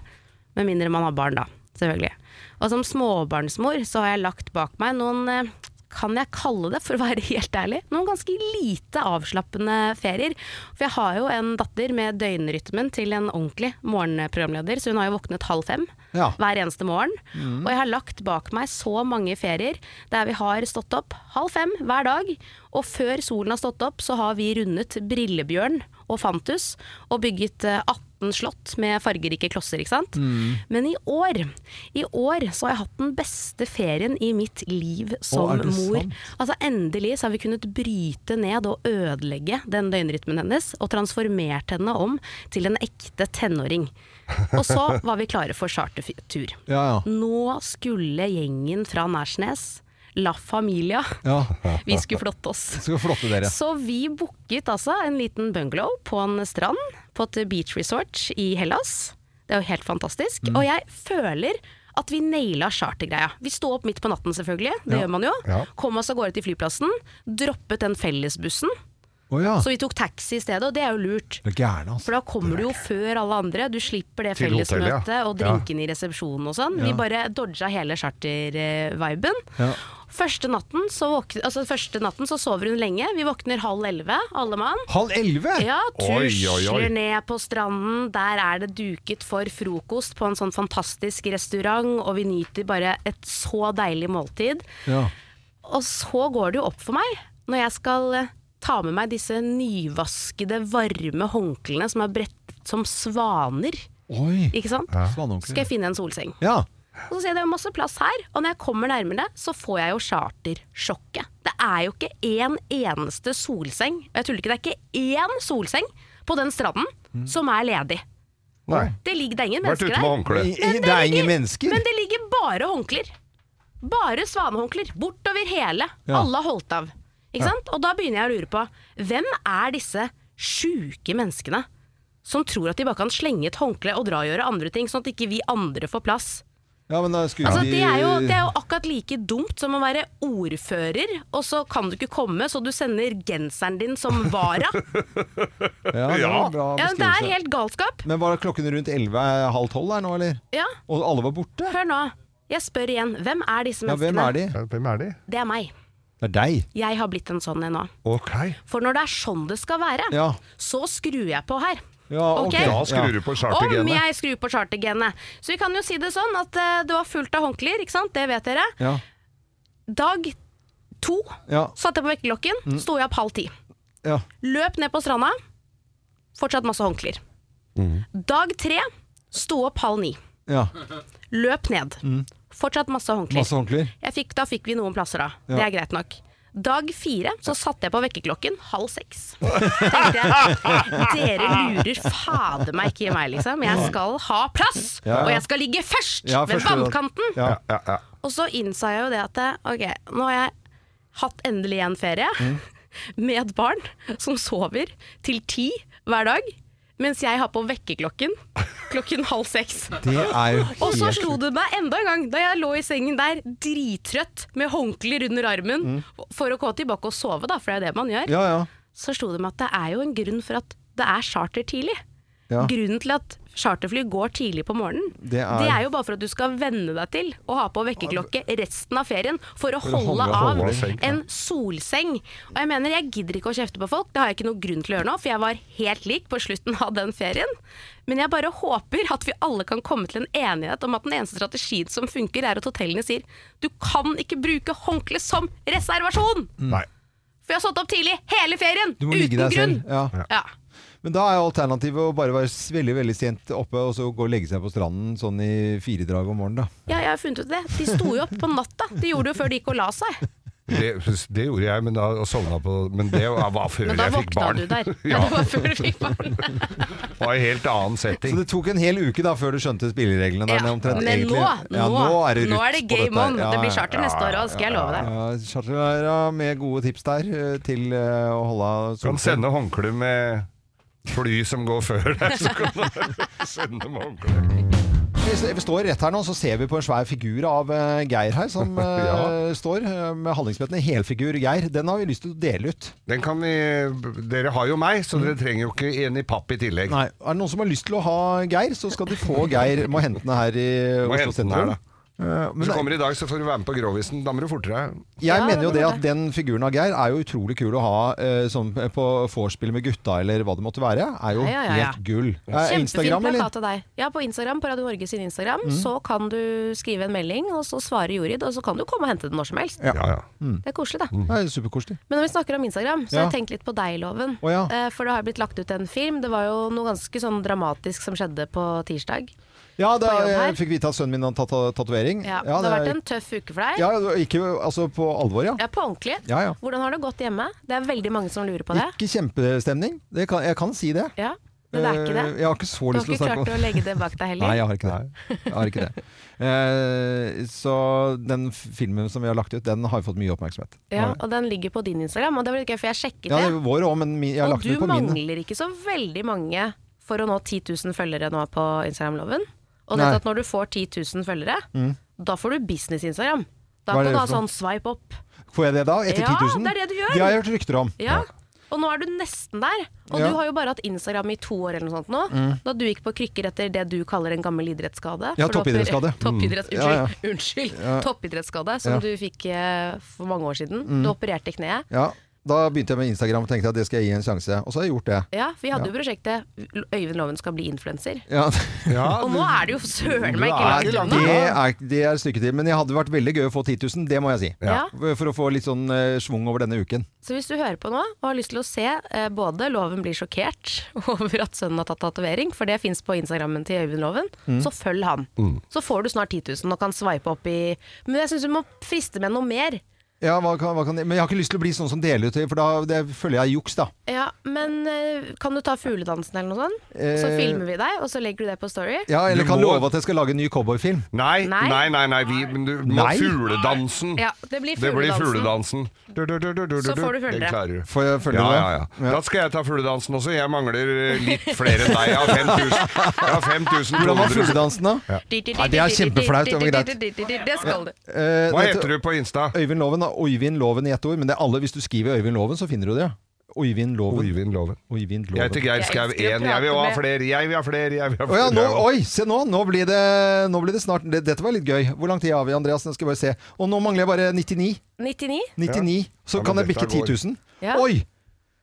Speaker 2: Med mindre man har barn, da. Selvfølgelig. Og som småbarnsmor så har jeg lagt bak meg noen eh, kan jeg kalle det, for å være helt ærlig, noen ganske lite avslappende ferier. For jeg har jo en datter med døgnrytmen til en ordentlig morgenprogramleder, så hun har jo våknet halv fem
Speaker 1: Ja.
Speaker 2: hver eneste morgen.
Speaker 1: Mm.
Speaker 2: Og jeg har lagt bak meg så mange ferier der vi har stått opp halv fem hver dag. Og før solen har stått opp, så har vi rundet Brillebjørn og Fantus og bygget eh, 18 slott med fargerike klosser, ikke sant.
Speaker 1: Mm.
Speaker 2: Men i år, i år så har jeg hatt den beste ferien i mitt liv som
Speaker 1: er det
Speaker 2: mor.
Speaker 1: sant?
Speaker 2: Altså Endelig så har vi kunnet bryte ned og ødelegge den døgnrytmen hennes, og transformert henne om til en ekte tenåring. Og så var vi klare for chartertur.
Speaker 1: Ja, ja.
Speaker 2: Nå skulle gjengen fra Nærsnes, La Familia,
Speaker 1: ja.
Speaker 2: vi skulle flotte oss.
Speaker 1: Skal flotte dere.
Speaker 2: Så vi booket altså en liten bungalow på en strand på et beach resort i Hellas. Det er jo helt fantastisk.
Speaker 3: Mm.
Speaker 2: Og jeg føler at vi naila chartergreia. Vi sto opp midt på natten selvfølgelig, det gjør man jo.
Speaker 3: Ja.
Speaker 2: Kom oss av gårde til flyplassen. Droppet den fellesbussen.
Speaker 1: Å ja.
Speaker 2: Så vi tok taxi i stedet, og det er jo lurt.
Speaker 1: Du er gæren, altså.
Speaker 2: For da kommer du jo før alle andre. Du slipper det
Speaker 3: Til hotellet, ja.
Speaker 2: fellesmøtet og drinkene i resepsjonen og sånn. Vi bare dodga hele charter-viben.
Speaker 1: Ja.
Speaker 2: Første, natten så våk- altså, første natten så sover hun lenge. Vi våkner halv elleve, alle mann.
Speaker 1: Halv elleve?
Speaker 2: Ja,
Speaker 3: Oi, oi, oi.
Speaker 2: tusler ned på stranden. Der er det duket for frokost på en sånn fantastisk restaurant, og vi nyter bare et så deilig måltid.
Speaker 1: Ja.
Speaker 2: Og så går det jo opp for meg, når jeg skal eh, ta med meg disse nyvaskede, varme håndklærne som er brettet som svaner,
Speaker 1: Oi.
Speaker 2: ikke sant?
Speaker 1: Svanonkel.
Speaker 2: Skal jeg finne en solseng.
Speaker 1: Ja.
Speaker 2: Og så ser jeg det er masse plass her, og når jeg kommer nærmere, så får jeg jo chartersjokket. Det er jo ikke én eneste solseng, og jeg tuller ikke, det er ikke én solseng på den stranden som er ledig.
Speaker 3: Nei.
Speaker 2: Det ligger det er ingen
Speaker 3: Mm. Vært
Speaker 2: mennesker
Speaker 3: ute med
Speaker 2: der.
Speaker 3: håndkle.
Speaker 1: I, i, det er ingen mennesker.
Speaker 2: Men det ligger bare håndklær. Bare svanehåndklær. Bortover hele.
Speaker 1: Ja.
Speaker 2: Alle har holdt av. Ikke sant? Og da begynner jeg å lure på hvem er disse sjuke menneskene som tror at de bare kan slenge et håndkle og dra og gjøre andre ting, sånn at ikke vi andre får plass.
Speaker 1: Ja, men da skulle
Speaker 2: Altså,
Speaker 1: de
Speaker 2: det, er jo, det er jo akkurat like dumt som å være ordfører, og så kan du ikke komme, så du sender genseren din som vara.
Speaker 1: Ja, det var en bra
Speaker 2: Ja, det er
Speaker 1: beskrivelse.
Speaker 2: helt galskap.
Speaker 1: Men var klokken rundt elleve, eh, halv tolv her nå, eller?
Speaker 2: Ja,
Speaker 1: Og alle var borte?
Speaker 2: hør nå. Jeg spør igjen. Hvem er disse
Speaker 1: Ja, hvem
Speaker 2: menneskene?
Speaker 1: er de?
Speaker 3: Ja, Hvem er de?
Speaker 2: Det er meg.
Speaker 1: Det er deg.
Speaker 2: Jeg har blitt en sånn en nå.
Speaker 3: Ok.
Speaker 2: For når det er sånn det skal være,
Speaker 1: Ja.
Speaker 2: så skrur jeg på her.
Speaker 1: Ja, ok.
Speaker 2: Ok.
Speaker 3: Da skrur du på
Speaker 2: Om
Speaker 3: chartergenet.
Speaker 2: jeg skrur på chartergenet. Så vi kan jo si det sånn at eh, det var fullt av håndklær, ikke sant? Det vet dere.
Speaker 1: Ja.
Speaker 2: Dag to
Speaker 1: Ja.
Speaker 2: satte jeg på vekkerklokken,
Speaker 1: Mm.
Speaker 2: sto jeg opp halv ti.
Speaker 1: Ja.
Speaker 2: Løp ned på stranda, fortsatt masse håndklær.
Speaker 1: Mm.
Speaker 2: Dag tre sto opp halv ni.
Speaker 1: ja.
Speaker 2: Løp ned. Fortsatt masse håndklær.
Speaker 1: Mm. Masse håndklær.
Speaker 2: Jeg fikk, da fikk vi noen plasser da. Det er greit nok. Dag fire så satte jeg på vekkerklokken halv seks. Tenkte jeg, Dere lurer fader meg ikke i meg, liksom. Jeg skal ha plass!
Speaker 1: Ja, ja.
Speaker 2: Og jeg skal ligge først!
Speaker 1: Ja,
Speaker 2: ved
Speaker 1: først ved-
Speaker 2: vannkanten!
Speaker 1: Ja.
Speaker 3: Ja, ja, ja.
Speaker 2: Og så innså jeg jo det at eh, ok, nå har jeg hatt endelig en ferie
Speaker 1: Mm.
Speaker 2: med et barn som sover til ti hver dag, mens jeg har på vekkerklokken klokken halv seks.
Speaker 1: Det er jo helt
Speaker 2: Og så slo det meg enda en gang da jeg lå i sengen der drittrøtt med håndklær under armen for å gå tilbake og sove, da, for det er jo det man gjør.
Speaker 1: Ja, ja.
Speaker 2: Så slo det meg at det er jo en grunn for at det er charter tidlig.
Speaker 1: Ja.
Speaker 2: Grunnen til at Charterfly går tidlig på morgenen.
Speaker 1: Det er-
Speaker 2: jo bare for at du skal venne deg til å ha på vekkerklokke resten av ferien for å
Speaker 1: å holde-
Speaker 2: holde av
Speaker 1: holde
Speaker 3: seg, ja.
Speaker 2: en solseng. Og jeg mener, jeg gidder ikke å kjefte på folk, det har jeg ikke noe grunn til å gjøre nå, for jeg var helt lik på slutten av den ferien. Men jeg bare håper at vi alle kan komme til en enighet om at den eneste strategien som funker, er at hotellene sier du kan ikke bruke håndkle som reservasjon!
Speaker 1: Mm.
Speaker 3: Nei.
Speaker 2: For jeg har stått opp tidlig hele ferien!
Speaker 1: Du må ligge
Speaker 2: uten
Speaker 1: deg
Speaker 2: grunn!
Speaker 1: selv. Ja.
Speaker 2: Ja.
Speaker 1: Men da er jo alternativet å bare være s- veldig veldig sent oppe og så gå og legge seg på stranden sånn i fire drag om morgenen. da.
Speaker 2: ja, jeg har funnet ut det. De sto jo opp på natta. De gjorde det jo før de gikk og la seg.
Speaker 3: Det, det gjorde jeg, men da og sovna på Men det var før
Speaker 2: Men da
Speaker 3: jeg fikk
Speaker 2: våkna
Speaker 3: barn.
Speaker 2: du der. Ja,
Speaker 3: ja,
Speaker 2: det var før du fikk barn.
Speaker 3: det var en helt annen
Speaker 1: Så
Speaker 3: setting.
Speaker 1: det tok en hel uke da før du skjønte spillereglene. der
Speaker 2: Ja,
Speaker 1: nede omtrent,
Speaker 2: men
Speaker 1: egentlig.
Speaker 2: nå,
Speaker 1: Ja,
Speaker 2: nå,
Speaker 1: nå er det
Speaker 2: nå
Speaker 1: rutt
Speaker 2: er det
Speaker 1: på dette
Speaker 2: game
Speaker 1: her.
Speaker 2: on.
Speaker 1: Ja,
Speaker 2: Det blir
Speaker 1: ja,
Speaker 2: charter neste år òg, skal jeg love deg.
Speaker 1: Ja, Charterlærere med gode tips der eh, til eh, å holde av
Speaker 3: Du kan
Speaker 1: solseng.
Speaker 3: sende håndkle med fly som går før deg, så kan du sende med håndkle.
Speaker 1: Vi s- vi står rett her nå, så ser vi på en svær figur av eh, Geir her, som eh,
Speaker 3: Ja.
Speaker 1: står eh, med Hallingsbrettene. Helfigur Geir. Den har vi lyst til å dele ut.
Speaker 3: Den kan vi Dere har jo meg, så dere trenger jo ikke en i papp i tillegg.
Speaker 1: Nei, Er det noen som har lyst til å ha Geir, så skal de få Geir. Må hente den her i
Speaker 3: Må
Speaker 1: Oslo
Speaker 3: hente den her,
Speaker 1: sentrum.
Speaker 3: da.
Speaker 1: Eh,
Speaker 3: Hvis
Speaker 1: Men
Speaker 3: du kommer i dag, så får du være med på Grovisen. Da må du forte deg.
Speaker 1: jeg
Speaker 2: Ja,
Speaker 1: mener jo
Speaker 2: det
Speaker 1: det
Speaker 2: må
Speaker 1: at den figuren av Geir er jo utrolig kul å ha eh, sånn på vorspiel med gutta, eller hva det måtte være. Er jo
Speaker 2: Ja, ja, ja.
Speaker 1: helt gull. Eh,
Speaker 2: Kjempefin
Speaker 1: Instagram, eller? Mm.
Speaker 2: plakat av deg. Ja, på Instagram, på Radio Norge sin Instagram, så kan du skrive en melding, og så svarer Jorid, og så kan du komme og hente den når som helst.
Speaker 3: Ja, ja.
Speaker 2: Det er koselig, da.
Speaker 1: Det er Superkoselig.
Speaker 2: Men når vi snakker om Instagram, så
Speaker 1: Mm.
Speaker 2: har
Speaker 1: Ja.
Speaker 2: jeg tenkt litt på deg-loven.
Speaker 1: Å, ja.
Speaker 2: Eh, For det har blitt lagt ut en film. Det var jo noe ganske sånn dramatisk som skjedde på tirsdag.
Speaker 1: Ja, da
Speaker 2: På jobb her.
Speaker 1: jeg fikk vite at sønnen min har tatt tatovering.
Speaker 2: Ja, det har vært en tøff uke for deg.
Speaker 1: ja, ikke altså på alvor, ja.
Speaker 2: Ja, på ordentlig.
Speaker 1: Ja, ja.
Speaker 2: Hvordan har det gått hjemme? Det er veldig mange som lurer på det.
Speaker 1: Ikke kjempestemning. Det kan, jeg kan si det.
Speaker 2: Ja, men det er ikke det.
Speaker 1: Eh, Jeg har ikke så
Speaker 2: Du
Speaker 1: lyst til å
Speaker 2: har ikke
Speaker 1: snakke om
Speaker 2: klart å legge det bak deg
Speaker 1: Nei,
Speaker 2: heller.
Speaker 1: jeg har ikke det. Jeg har ikke det. Eh, så den f- filmen som vi har lagt ut, den har jo fått mye oppmerksomhet.
Speaker 2: Ja, og den ligger på din Instagram, og det var litt gøy, for jeg sjekket
Speaker 1: Ja, det
Speaker 2: det.
Speaker 1: er vår òg, men mi- jeg har
Speaker 2: Og
Speaker 1: lagt den
Speaker 2: du
Speaker 1: ut på min.
Speaker 2: mangler ikke så veldig mange for å nå 10 000 følgere nå på Instagram-loven. Og
Speaker 1: Nei. Mm.
Speaker 2: dette at når du får 10 000 følgere, da får du business-Instagram. Da
Speaker 1: Hva er
Speaker 2: kan
Speaker 1: det
Speaker 2: du ha
Speaker 1: for noe?
Speaker 2: sånn swipe opp.
Speaker 1: Får jeg det da? Etter
Speaker 2: Ja,
Speaker 1: 10 000?
Speaker 2: det er det du gjør.
Speaker 1: Det har jeg hørt rykter om.
Speaker 2: Ja. Og nå er du nesten der. Og
Speaker 1: Ja. Mm.
Speaker 2: du har jo bare hatt Instagram i to år eller noe sånt nå. Da du gikk på krykker etter det du kaller en gammel idrettsskade.
Speaker 1: Ja,
Speaker 2: For det var-
Speaker 1: toppidrettsskade. Mm.
Speaker 2: Toppidretts, unnskyld.
Speaker 1: Ja, ja.
Speaker 2: unnskyld. Toppidrettsskade som
Speaker 1: Ja. Mm.
Speaker 2: du fikk eh, for mange år siden. Du opererte kneet.
Speaker 1: Ja, da begynte jeg med Instagram og tenkte at det skal jeg gi en sjanse. Og så har jeg gjort det.
Speaker 2: Ja, for vi hadde jo prosjektet L- Øyvind Loven skal bli influenser.
Speaker 1: Ja,
Speaker 3: ja
Speaker 2: Og nå er det jo søren meg
Speaker 3: Du er
Speaker 2: ikke
Speaker 3: ikke
Speaker 2: langt
Speaker 3: langt
Speaker 2: unna.
Speaker 1: det er, det er stykket til. Men det hadde vært veldig gøy å få 10 000, det må jeg si.
Speaker 2: Ja.
Speaker 1: For å få litt sånn eh, svung over denne uken.
Speaker 2: Så hvis du hører på nå og har lyst til å se eh, både Loven blir sjokkert over at sønnen har tatt tatovering, for det fins på Instagrammen til Øyvind Loven,
Speaker 1: Mm.
Speaker 2: så følg han. Så får du snart 10 000 og kan sveipe opp i Men jeg syns du må friste med noe mer.
Speaker 1: Ja, hva kan, hva kan, men jeg har ikke lyst til å bli sånn som deler ut, for da det føler jeg er juks, da.
Speaker 2: Ja, men eh, kan du ta fugledansen eller noe sånt? Så
Speaker 1: Eh.
Speaker 2: filmer vi deg, og så legger du det på Story.
Speaker 1: Ja, eller
Speaker 3: Du
Speaker 1: kan
Speaker 3: må-
Speaker 1: love at jeg skal lage en ny cowboyfilm.
Speaker 3: Nei,
Speaker 2: Nei.
Speaker 3: nei, nei, nei vi, men du må
Speaker 1: Nei.
Speaker 3: fugledansen.
Speaker 2: Ja, det blir
Speaker 3: Det blir
Speaker 2: fugledansen.
Speaker 3: fugledansen. Du, du, du, du, du,
Speaker 2: Så
Speaker 3: du.
Speaker 2: får du følge
Speaker 3: Den
Speaker 2: det.
Speaker 3: klarer du.
Speaker 1: Får jeg følge
Speaker 3: ja,
Speaker 1: det?
Speaker 3: ja, ja. Da skal jeg ta fugledansen også. Jeg mangler eh, litt flere enn deg. Jeg har 5000. Jeg har 5200.
Speaker 1: Hvordan var fugledansen, da? Nei, det er kjempeflaut, det var
Speaker 2: greit. Det skal du.
Speaker 1: Eh,
Speaker 3: Hva
Speaker 1: dette-
Speaker 3: heter du på Insta?
Speaker 1: Øyvind Loven, da. Øyvind Loven i ett ord. Men det er alle, hvis du skriver Øyvind Loven, så finner du det. Øyvind Loven.
Speaker 3: Øyvind Loven.
Speaker 1: Øyvind
Speaker 3: Jeg
Speaker 1: Loven.
Speaker 3: heter Geir
Speaker 2: Jeg
Speaker 3: Skau
Speaker 2: elsker å
Speaker 3: 1. Jeg vil
Speaker 2: prate
Speaker 3: ha
Speaker 2: med-
Speaker 3: flere, jeg vil ha flere, jeg vil ha
Speaker 1: Å ja,
Speaker 3: flere.
Speaker 1: nå, oi, se nå! Nå blir det, nå blir det snart det, Dette var litt gøy. Hvor lang tid har vi, Andreas? Nå skal jeg bare se. Og nå mangler jeg bare 99.
Speaker 2: 99?
Speaker 1: 99 Så
Speaker 3: Ja, men
Speaker 1: kan jeg
Speaker 3: dette
Speaker 1: bikke 10
Speaker 3: går.
Speaker 1: 000.
Speaker 2: Ja.
Speaker 1: Oi!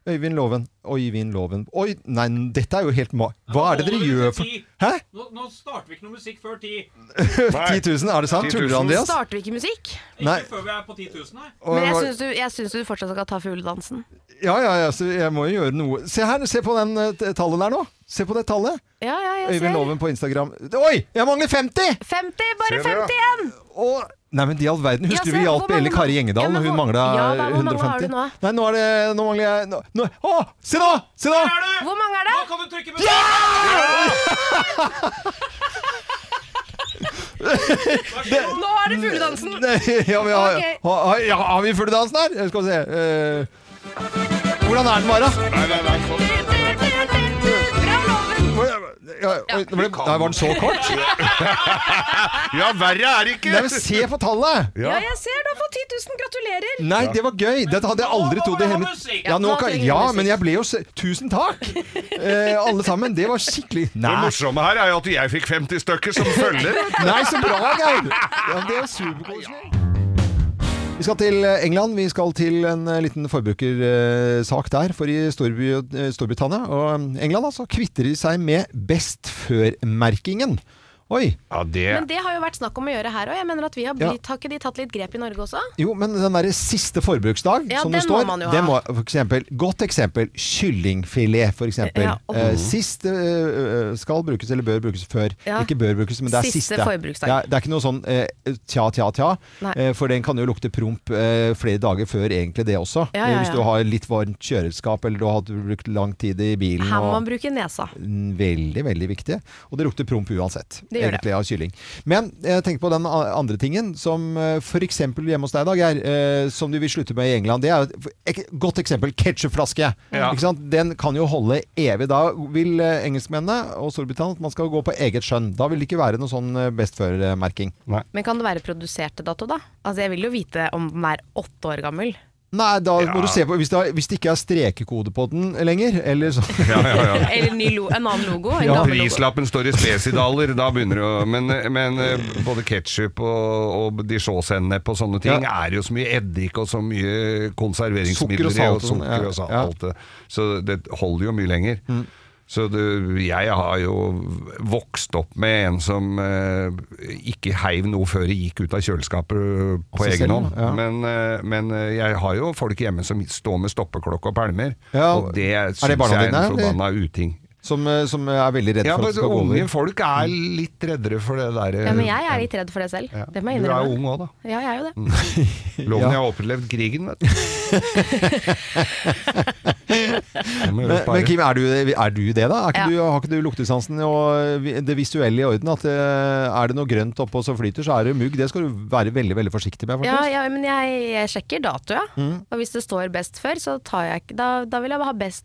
Speaker 1: Øyvind Loven. Øyvind Loven. Oi, nei, dette er jo helt ma... Hva er det dere gjør for Hæ?
Speaker 7: Nå, nå starter vi ikke noe musikk før ti.
Speaker 1: 10 000, er det sant?
Speaker 3: 10 000.
Speaker 1: Tuller du, Andreas?
Speaker 2: Starter vi ikke musikk?
Speaker 7: Ikke
Speaker 1: Nei.
Speaker 7: før vi er på 10 000, nei.
Speaker 1: Og
Speaker 2: Men jeg
Speaker 1: hva-
Speaker 2: syns du, jeg syns du fortsatt skal ta fugledansen.
Speaker 1: Ja, ja, ja, så jeg må jo gjøre noe. Se her, se på den eh, t- tallet der nå. Se på det tallet.
Speaker 2: Ja, ja, jeg
Speaker 1: Øyvind
Speaker 2: ser.
Speaker 1: Loven på Instagram. Oi, jeg mangler 50!
Speaker 2: 50, bare
Speaker 3: Ser du det?
Speaker 2: 50 igjen!
Speaker 1: Og, nei, men de all verden.
Speaker 2: Ja,
Speaker 1: Husker du
Speaker 2: se,
Speaker 1: vi
Speaker 2: hvor
Speaker 1: hjalp
Speaker 2: mange
Speaker 1: Eli
Speaker 2: nå?
Speaker 1: Kari
Speaker 2: Ja,
Speaker 1: Gjengedal
Speaker 2: men
Speaker 1: når hun
Speaker 2: hvor-
Speaker 1: mangla
Speaker 2: Ja, da, hvor mange
Speaker 1: 150?
Speaker 2: har du nå?
Speaker 1: Nei, nå er det Nå mangler jeg nå, nå, Å, se nå! Se nå!
Speaker 7: Der er du!
Speaker 2: Hvor mange er
Speaker 7: Nå
Speaker 2: det?
Speaker 7: kan du trykke på ja!
Speaker 2: Nå er det
Speaker 1: Mm,
Speaker 2: fugledansen!
Speaker 1: Nei, ja, vi har,
Speaker 2: Ok.
Speaker 1: ha, ha, ja, har vi full dansen her? Skal vi se. eh, hvordan er den bare?
Speaker 3: Nei, nei, nei.
Speaker 2: Bra, Loven!
Speaker 1: Hvor- ja, oi, det ble, Nei, var den så kort?
Speaker 3: Ja, verre er det ikke!
Speaker 1: Nei, men se på tallet!
Speaker 3: Ja.
Speaker 8: Ja, jeg ser du har fått 10 000. Gratulerer!
Speaker 1: Nei, det var gøy! Det hadde jeg aldri trodd det
Speaker 7: Nå må vi
Speaker 1: hele
Speaker 7: ha musikk.
Speaker 1: ja, nå
Speaker 2: nå
Speaker 1: kan,
Speaker 2: trenger vi
Speaker 1: ja,
Speaker 2: musikk.
Speaker 1: men jeg ble jo se... Tusen takk! Eh, alle sammen. Det var skikkelig
Speaker 3: Det
Speaker 1: Nei,
Speaker 3: morsomme her er jo at jeg fikk 50 stykker som følger.
Speaker 1: Nei så bra, Geir! Ja, men det er jo superkoselig. Vi skal til eh, England. Vi skal til en eh, liten forbrukersak der. For i Storby, eh, Storbritannia og England altså, kvitter de seg med best før-merkingen. Oi.
Speaker 3: Ja, det
Speaker 2: Men det har jo vært snakk om å gjøre her òg. Jeg mener at vi har
Speaker 1: Ja.
Speaker 2: blitt, har ikke de tatt litt grep i Norge også?
Speaker 1: Jo, men den derre siste forbruksdag,
Speaker 2: Ja,
Speaker 1: som det
Speaker 2: den må
Speaker 1: står
Speaker 2: man jo
Speaker 1: det må,
Speaker 2: ha.
Speaker 1: for eksempel, Godt eksempel kyllingfilet, for eksempel.
Speaker 2: Ja, og-
Speaker 1: Eh, sist eh, eh, skal brukes eller bør brukes før.
Speaker 2: Ja.
Speaker 1: Ikke bør brukes, men det er
Speaker 2: Siste
Speaker 1: siste.
Speaker 2: forbruksdag.
Speaker 1: Ja, det er ikke noe sånn eh, tja, tja, tja.
Speaker 2: Nei.
Speaker 1: Eh, for den kan jo lukte promp eh, flere dager før egentlig det også.
Speaker 2: Ja, ja,
Speaker 1: Eh, Hvis
Speaker 2: ja.
Speaker 1: du har litt varmt kjøleskap, eller du har hatt- brukt lang tid i bilen.
Speaker 2: Her må
Speaker 1: og-
Speaker 2: man bruke nesa.
Speaker 1: Mm, Veldig, veldig viktig. Og det lukter promp uansett.
Speaker 2: Det gjør det.
Speaker 1: egentlig av kylling. Men jeg tenkte på den a- andre tingen, som f.eks. hjemme hos deg, Dag, er, eh, som du vil slutte med i England. Det er et f- ek- godt eksempel ketsjupflaske.
Speaker 3: Ja.
Speaker 1: Ikke sant? Den kan jo holde evig. Da vil eh, engelskmennene og Storbritannia at man skal gå på eget skjønn. Da vil det ikke være noe sånn eh, best før-merking.
Speaker 2: Men kan det være produsert til dato, da? Altså, Jeg vil jo vite om den er åtte år gammel.
Speaker 1: Nei, da må
Speaker 3: Ja.
Speaker 1: du se på hvis det, er- hvis det ikke er strekekode på den lenger, eller så
Speaker 3: ja, ja, ja.
Speaker 2: Eller en ny lo en annen logo. En
Speaker 1: Ja,
Speaker 2: gammel logo.
Speaker 3: Prislappen står i spesidaler, da begynner det å Men, men eh, både ketsjup og, og dijon-sennep og sånne ting er jo så mye eddik og så
Speaker 1: Sukker
Speaker 3: mye
Speaker 1: og
Speaker 3: konserveringsmidler i,
Speaker 1: salt
Speaker 3: og
Speaker 1: og sånn,
Speaker 3: sukker
Speaker 1: ja,
Speaker 3: og salt.
Speaker 1: ja. Mm.
Speaker 3: alt det. Så det holder jo mye lenger. Så det, jeg har jo vokst opp med en som eh, ikke heiv noe før det gikk ut av kjøleskapet eh, på
Speaker 1: seg
Speaker 3: egen
Speaker 1: Altså selv,
Speaker 3: hånd.
Speaker 1: ja.
Speaker 3: Men, eh, men eh, jeg har jo folk hjemme som står med stoppeklokke og pælmer,
Speaker 1: Ja,
Speaker 3: og det syns
Speaker 1: barna
Speaker 3: jeg er
Speaker 1: dine,
Speaker 3: en
Speaker 1: eller?
Speaker 3: forbanna uting.
Speaker 1: som, eh, som er veldig redd
Speaker 3: Ja,
Speaker 1: for
Speaker 3: men
Speaker 1: at det skal gå
Speaker 3: unge
Speaker 1: over. Mm.
Speaker 3: folk er litt reddere for det der.
Speaker 2: Ja, men jeg er litt redd for det selv.
Speaker 3: Ja.
Speaker 2: Det må jeg
Speaker 3: Du er jo
Speaker 2: innrømme.
Speaker 3: ung òg, da.
Speaker 2: Ja, jeg er jo det.
Speaker 1: Ja.
Speaker 3: Loven jeg har overlevd krigen, vet du. Det må jeg
Speaker 1: Men,
Speaker 3: spare.
Speaker 1: men Kim, er du, er du det, da? Er ikke
Speaker 2: Ja.
Speaker 1: du, har ikke du luktesansen og vi- det visuelle i orden? At eh, er det noe grønt oppå som flyter, så er det mugg. Det skal du være veldig veldig forsiktig med.
Speaker 2: Ja,
Speaker 1: faktisk.
Speaker 2: ja, men jeg, jeg sjekker dato, ja. Og hvis det står best før, så tar jeg ikke Da, da vil jeg ha best.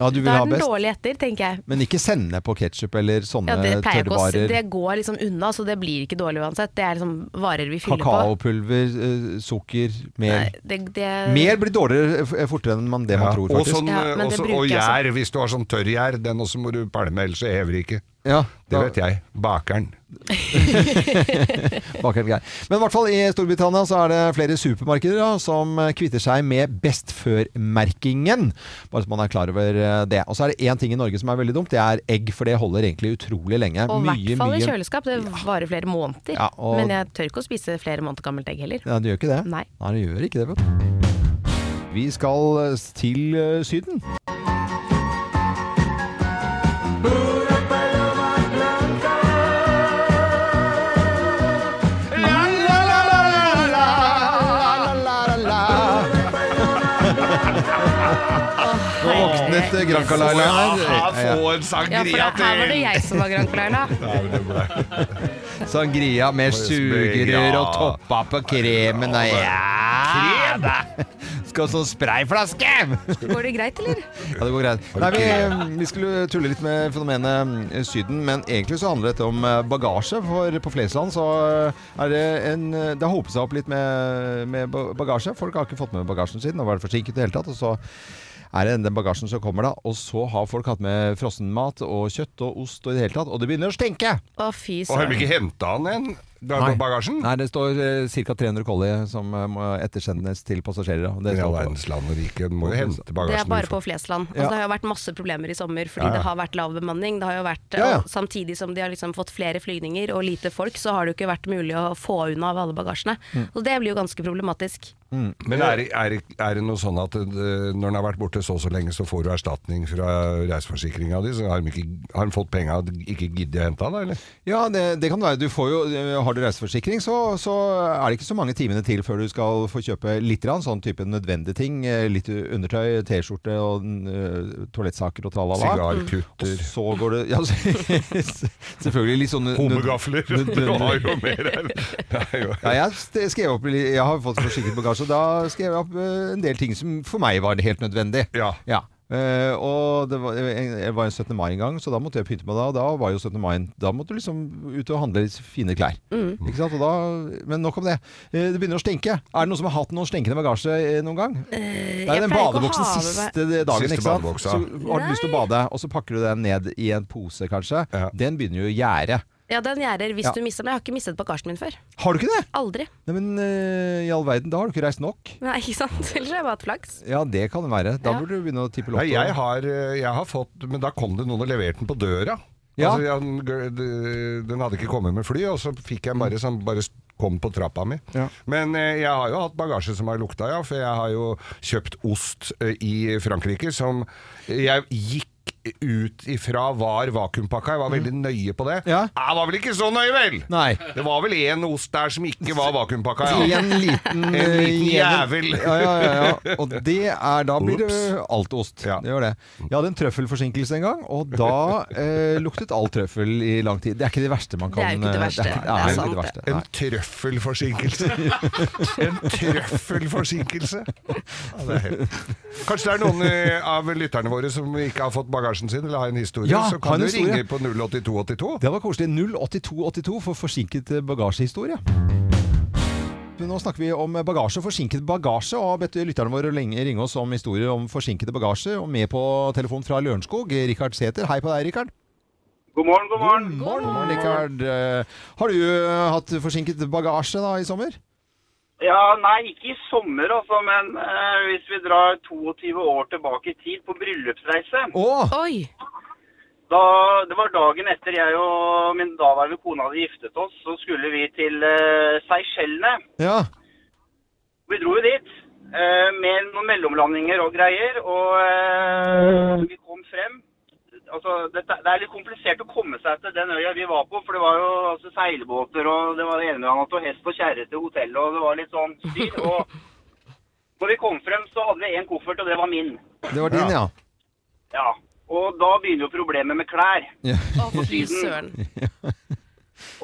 Speaker 1: ja, du vil
Speaker 2: Da
Speaker 1: ha
Speaker 2: er den
Speaker 1: best.
Speaker 2: dårlig etter, tenker jeg.
Speaker 1: Men ikke sende på ketsjup eller sånne
Speaker 2: Ja, det pleier jeg ikke å si. Det
Speaker 1: tørrvarer.
Speaker 2: går liksom unna, så det blir ikke dårlig uansett. Det er liksom varer vi fyller på.
Speaker 1: Kakaopulver, eh, sukker, mel.
Speaker 2: Nei, eh, det, det,
Speaker 1: Mel blir dårligere eh, f- fortere enn man, det man
Speaker 3: Ja,
Speaker 1: tror,
Speaker 3: og,
Speaker 1: faktisk.
Speaker 3: sånn,
Speaker 2: Ja, men det
Speaker 3: også,
Speaker 2: bruker
Speaker 3: og
Speaker 2: jeg også.
Speaker 3: gjær, hvis du har sånn tørr gjær, den også må du pælme, ellers så hever det ikke.
Speaker 1: Ja,
Speaker 3: Det
Speaker 1: da-
Speaker 3: vet jeg. Bakeren.
Speaker 1: Bakeren Geir. Men i hvert fall i Storbritannia så er det flere supermarkeder da, som kvitter seg med best før-merkingen. Bare så man er klar over eh, det. Og så er det én ting i Norge som er veldig dumt. Det er egg, for det holder egentlig utrolig lenge.
Speaker 2: Og i hvert fall i kjøleskap. Det varer flere måneder.
Speaker 1: Ja, og-
Speaker 2: Men jeg tør ikke å spise flere måneder gammelt egg heller.
Speaker 1: Ja, det gjør ikke det?
Speaker 2: Nei.
Speaker 1: Nei, det gjør ikke det, vet du. Vi skal eh, til eh, Syden. Nå våknet eh, Gran Canaria
Speaker 3: Ja,
Speaker 1: her.
Speaker 3: få en sånn
Speaker 2: Ja, for
Speaker 3: sangria
Speaker 2: det, her var det
Speaker 3: til!
Speaker 2: jeg som var Gran Canaria.
Speaker 1: Sangria med sugerør og toppa på kremen. og- Ja! Skal sånn sprayflaske!
Speaker 2: Går det greit, eller?
Speaker 1: Ja, det går greit. Nei, vi, eh, vi skulle tulle litt med fenomenet eh, Syden, men egentlig så handler dette om eh, bagasje. For på Flesland så eh, er det en eh, Det har hopet seg opp litt med, med ba- bagasje. Folk har ikke fått med bagasjen sin og vært forsinket i det hele tatt. Og så er det den bagasjen som kommer, da. Og så har folk hatt med frossenmat og kjøtt og ost og i det hele tatt. Og det begynner å stinke!
Speaker 2: Å, fy
Speaker 3: Og har de
Speaker 2: søren.
Speaker 3: ikke henta han en? Da på bagasjen?
Speaker 1: Nei, det står eh, ca. 300 kolli som eh, må ettersendes til passasjerer. da. Det
Speaker 3: I
Speaker 1: står
Speaker 3: all
Speaker 1: på.
Speaker 3: verdens land og rike, du må jo hente
Speaker 2: Det er
Speaker 3: bagasjen.
Speaker 2: bare
Speaker 3: du
Speaker 2: på
Speaker 3: får.
Speaker 2: Flesland. Altså,
Speaker 1: Ja.
Speaker 2: Det har jo vært masse problemer i sommer fordi det har vært lav bemanning. Det har jo vært,
Speaker 1: Ja, ja.
Speaker 2: og Samtidig som de har liksom fått flere flygninger og lite folk, så har det jo ikke vært mulig å få unna av alle bagasjene.
Speaker 1: Mm.
Speaker 2: Så det blir jo ganske problematisk.
Speaker 3: Men er, det- er, det- er det noe sånn at eh, når den har vært borte så og så lenge, så får du erstatning fra reiseforsikringa di? Så har de, ikke, har de fått penga og ikke giddet å hente han, eller?
Speaker 1: Ja, det, det kan være. Du får jo, eh, har du reiseforsikring, så, så er det ikke så mange timene til før du skal få kjøpe litt grann sånn type nødvendige ting. eh, Litt undertøy, T-skjorte og eh, toalettsaker og tralala. Og
Speaker 3: Sigarkutter.
Speaker 1: så går det ja, Selvfølgelig litt sånn
Speaker 3: Homegafler.
Speaker 1: nød-
Speaker 3: Du har jo mer her. Det er jo-
Speaker 1: Ja, jeg, st- skrev opp, li- jeg har fått forsikret bagasje, og da skrev jeg opp eh, en del ting som for meg var helt nødvendig.
Speaker 3: Ja.
Speaker 1: Eh, og det var, jeg var en 17. mai en gang, så da måtte jeg pynte meg da. Og da var jo 17. mai Da måtte du liksom ut og handle litt fine klær.
Speaker 2: Mm.
Speaker 1: Ikke sant? Og da, men nok om det. Eh, det begynner å stinke. Er det noen som har hatt noen stinkende bagasje eh, noen gang? det
Speaker 2: jeg
Speaker 1: er den
Speaker 2: pleier ikke å
Speaker 1: badebuksen
Speaker 2: ha med meg-
Speaker 1: siste dagen,
Speaker 3: Siste
Speaker 1: ikke sant?
Speaker 3: badebuksa.
Speaker 1: Så har du lyst til å bade, og så pakker du den ned i en pose, kanskje.
Speaker 3: Ja.
Speaker 1: Den begynner jo å gjære.
Speaker 2: Ja, den gjerder hvis
Speaker 1: Ja.
Speaker 2: du mister den. Jeg har ikke mistet bagasjen min før.
Speaker 1: Har du ikke det?
Speaker 2: Aldri.
Speaker 1: Nei, men eh, i all verden, da har du ikke reist nok.
Speaker 2: Nei, ikke sant? Ellers har jeg bare hatt flaks.
Speaker 1: Ja, det kan det være. Da
Speaker 2: Ja.
Speaker 1: burde du begynne å tippe lotto.
Speaker 3: Nei, jeg har, eh, jeg har fått Men da kom det noen og leverte den på døra.
Speaker 1: Ja.
Speaker 3: Altså, jeg- den, g- den hadde ikke kommet med fly, og så fikk jeg bare sånn bare kom på trappa mi.
Speaker 1: Mm. Ja.
Speaker 3: Men eh, jeg har jo hatt bagasje som har lukta, ja. For jeg har jo kjøpt ost eh, i Frankrike som jeg gikk ut ifra var vakuumpakka. Jeg var veldig nøye på det.
Speaker 1: Mm. Ja.
Speaker 3: Jeg var vel ikke så nøye, vel!
Speaker 1: Nei.
Speaker 3: Det var vel én ost der som ikke var vakuumpakka.
Speaker 1: I
Speaker 3: Ja.
Speaker 1: en liten,
Speaker 3: En
Speaker 1: eh,
Speaker 3: liten jævel.
Speaker 1: Ja, ja, ja, ja. Og det er Da blir det
Speaker 3: Ops.
Speaker 1: alt ost.
Speaker 3: Ja.
Speaker 1: Det gjør det. Jeg hadde en trøffelforsinkelse en gang, og da eh, luktet all trøffel i lang tid. Det er ikke det verste man
Speaker 2: Det er
Speaker 1: kan
Speaker 2: jo ikke det
Speaker 1: eh,
Speaker 2: verste.
Speaker 1: Det er, det er,
Speaker 2: Det er
Speaker 1: jo ikke det
Speaker 2: sant,
Speaker 1: verste.
Speaker 3: En
Speaker 1: Nei.
Speaker 3: trøffelforsinkelse. en trøffelforsinkelse! Ja, det er helt. Kanskje det er noen eh, av lytterne våre som ikke har fått bagasjen sin, eller har en historie,
Speaker 1: Ja,
Speaker 3: så
Speaker 1: har
Speaker 3: kan
Speaker 1: en
Speaker 3: du
Speaker 1: historie.
Speaker 3: ringe på 08282.
Speaker 1: Det var koselig. 08282 for forsinket eh, bagasjehistorie. Nå snakker vi om eh, bagasje og forsinket bagasje, og har bedt lytterne våre lenge ringe oss om historier om forsinkede bagasje. Og med på telefon fra Lørenskog, Rikard Sæther. Hei på deg, Rikard.
Speaker 9: God morgen, god morgen.
Speaker 1: God morgen, Rikard. Eh, Har du eh, hatt forsinket bagasje da i sommer?
Speaker 9: Ja, nei, ikke i sommer altså, men eh, hvis vi drar 22 år tilbake i tid på bryllupsreise,
Speaker 1: Å!
Speaker 2: Oi!
Speaker 9: da, det var dagen etter jeg og min daværende kone hadde giftet oss, så skulle vi til eh, Seychellene.
Speaker 1: Ja.
Speaker 9: Vi dro jo dit eh, med noen mellomlandinger og greier, og eh, vi kom frem. Altså, det, det er litt komplisert å komme seg til den øya vi var på, for det var jo altså, seilbåter, og det var det ene med annet, og hest og kjerre til hotellet, og det var litt sånn styr. Og når vi kom frem, så hadde vi én koffert, og det var min.
Speaker 1: Det var din, ja.
Speaker 9: Ja. Og da begynner jo problemet med klær.
Speaker 1: Ja.
Speaker 2: Å, for fy søren.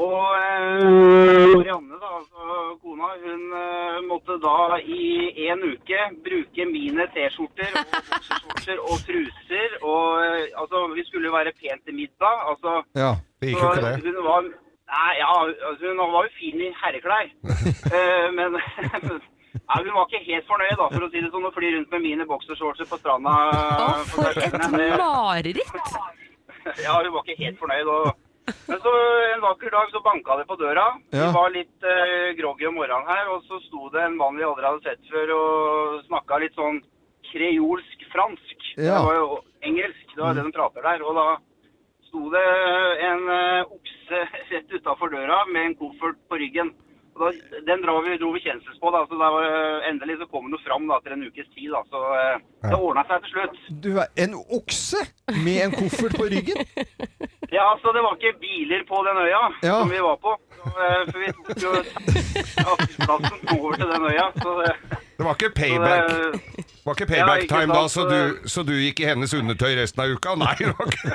Speaker 9: Og eh, Marianne, da, altså kona, hun eh, måtte da i en uke bruke mine T-skjorter og bokserskjorter og truser. Og eh, altså, vi skulle jo være pent til middag. Altså,
Speaker 1: ja.
Speaker 3: Det gikk jo ikke
Speaker 9: så
Speaker 3: det.
Speaker 9: Hun var, nei, ja, altså, hun var jo fin i herreklær. Eh, men nei, hun var ikke helt fornøyd, da, for å si det sånn, å fly rundt med mine boksershortser på stranda.
Speaker 2: Å,
Speaker 9: eh, på
Speaker 2: for et
Speaker 9: Sardinien. Det-
Speaker 2: mareritt!
Speaker 9: ja, hun var ikke helt fornøyd. Og... Men så en vakker dag så banka det på døra.
Speaker 1: Ja.
Speaker 9: Vi var litt eh, groggy om morgenen her, og så sto det en mann vi aldri hadde sett før og snakka litt sånn kreolsk-fransk.
Speaker 1: Ja.
Speaker 9: Det var jo engelsk, det var det de prater der. Og da sto det en eh, okse rett utafor døra med en koffert på ryggen. Og da, den dro vi, dro vi kjensels på, da, så da var, endelig så kom det fram da, etter en ukes tid. Da, så eh, det ordna seg til slutt.
Speaker 1: Du er en okse med en koffert på ryggen?
Speaker 9: Ja, altså det var ikke biler på den øya
Speaker 1: Ja.
Speaker 9: som vi var på. Så, eh, for vi tok jo taxiplassen over til den øya. Så, eh,
Speaker 3: Det var ikke
Speaker 9: så
Speaker 3: payback,
Speaker 9: det,
Speaker 3: det var ikke
Speaker 9: Ja,
Speaker 3: payback
Speaker 9: ikke
Speaker 3: time da, så
Speaker 9: sant,
Speaker 3: du, så du gikk i hennes undertøy resten av uka? Nei, det var ikke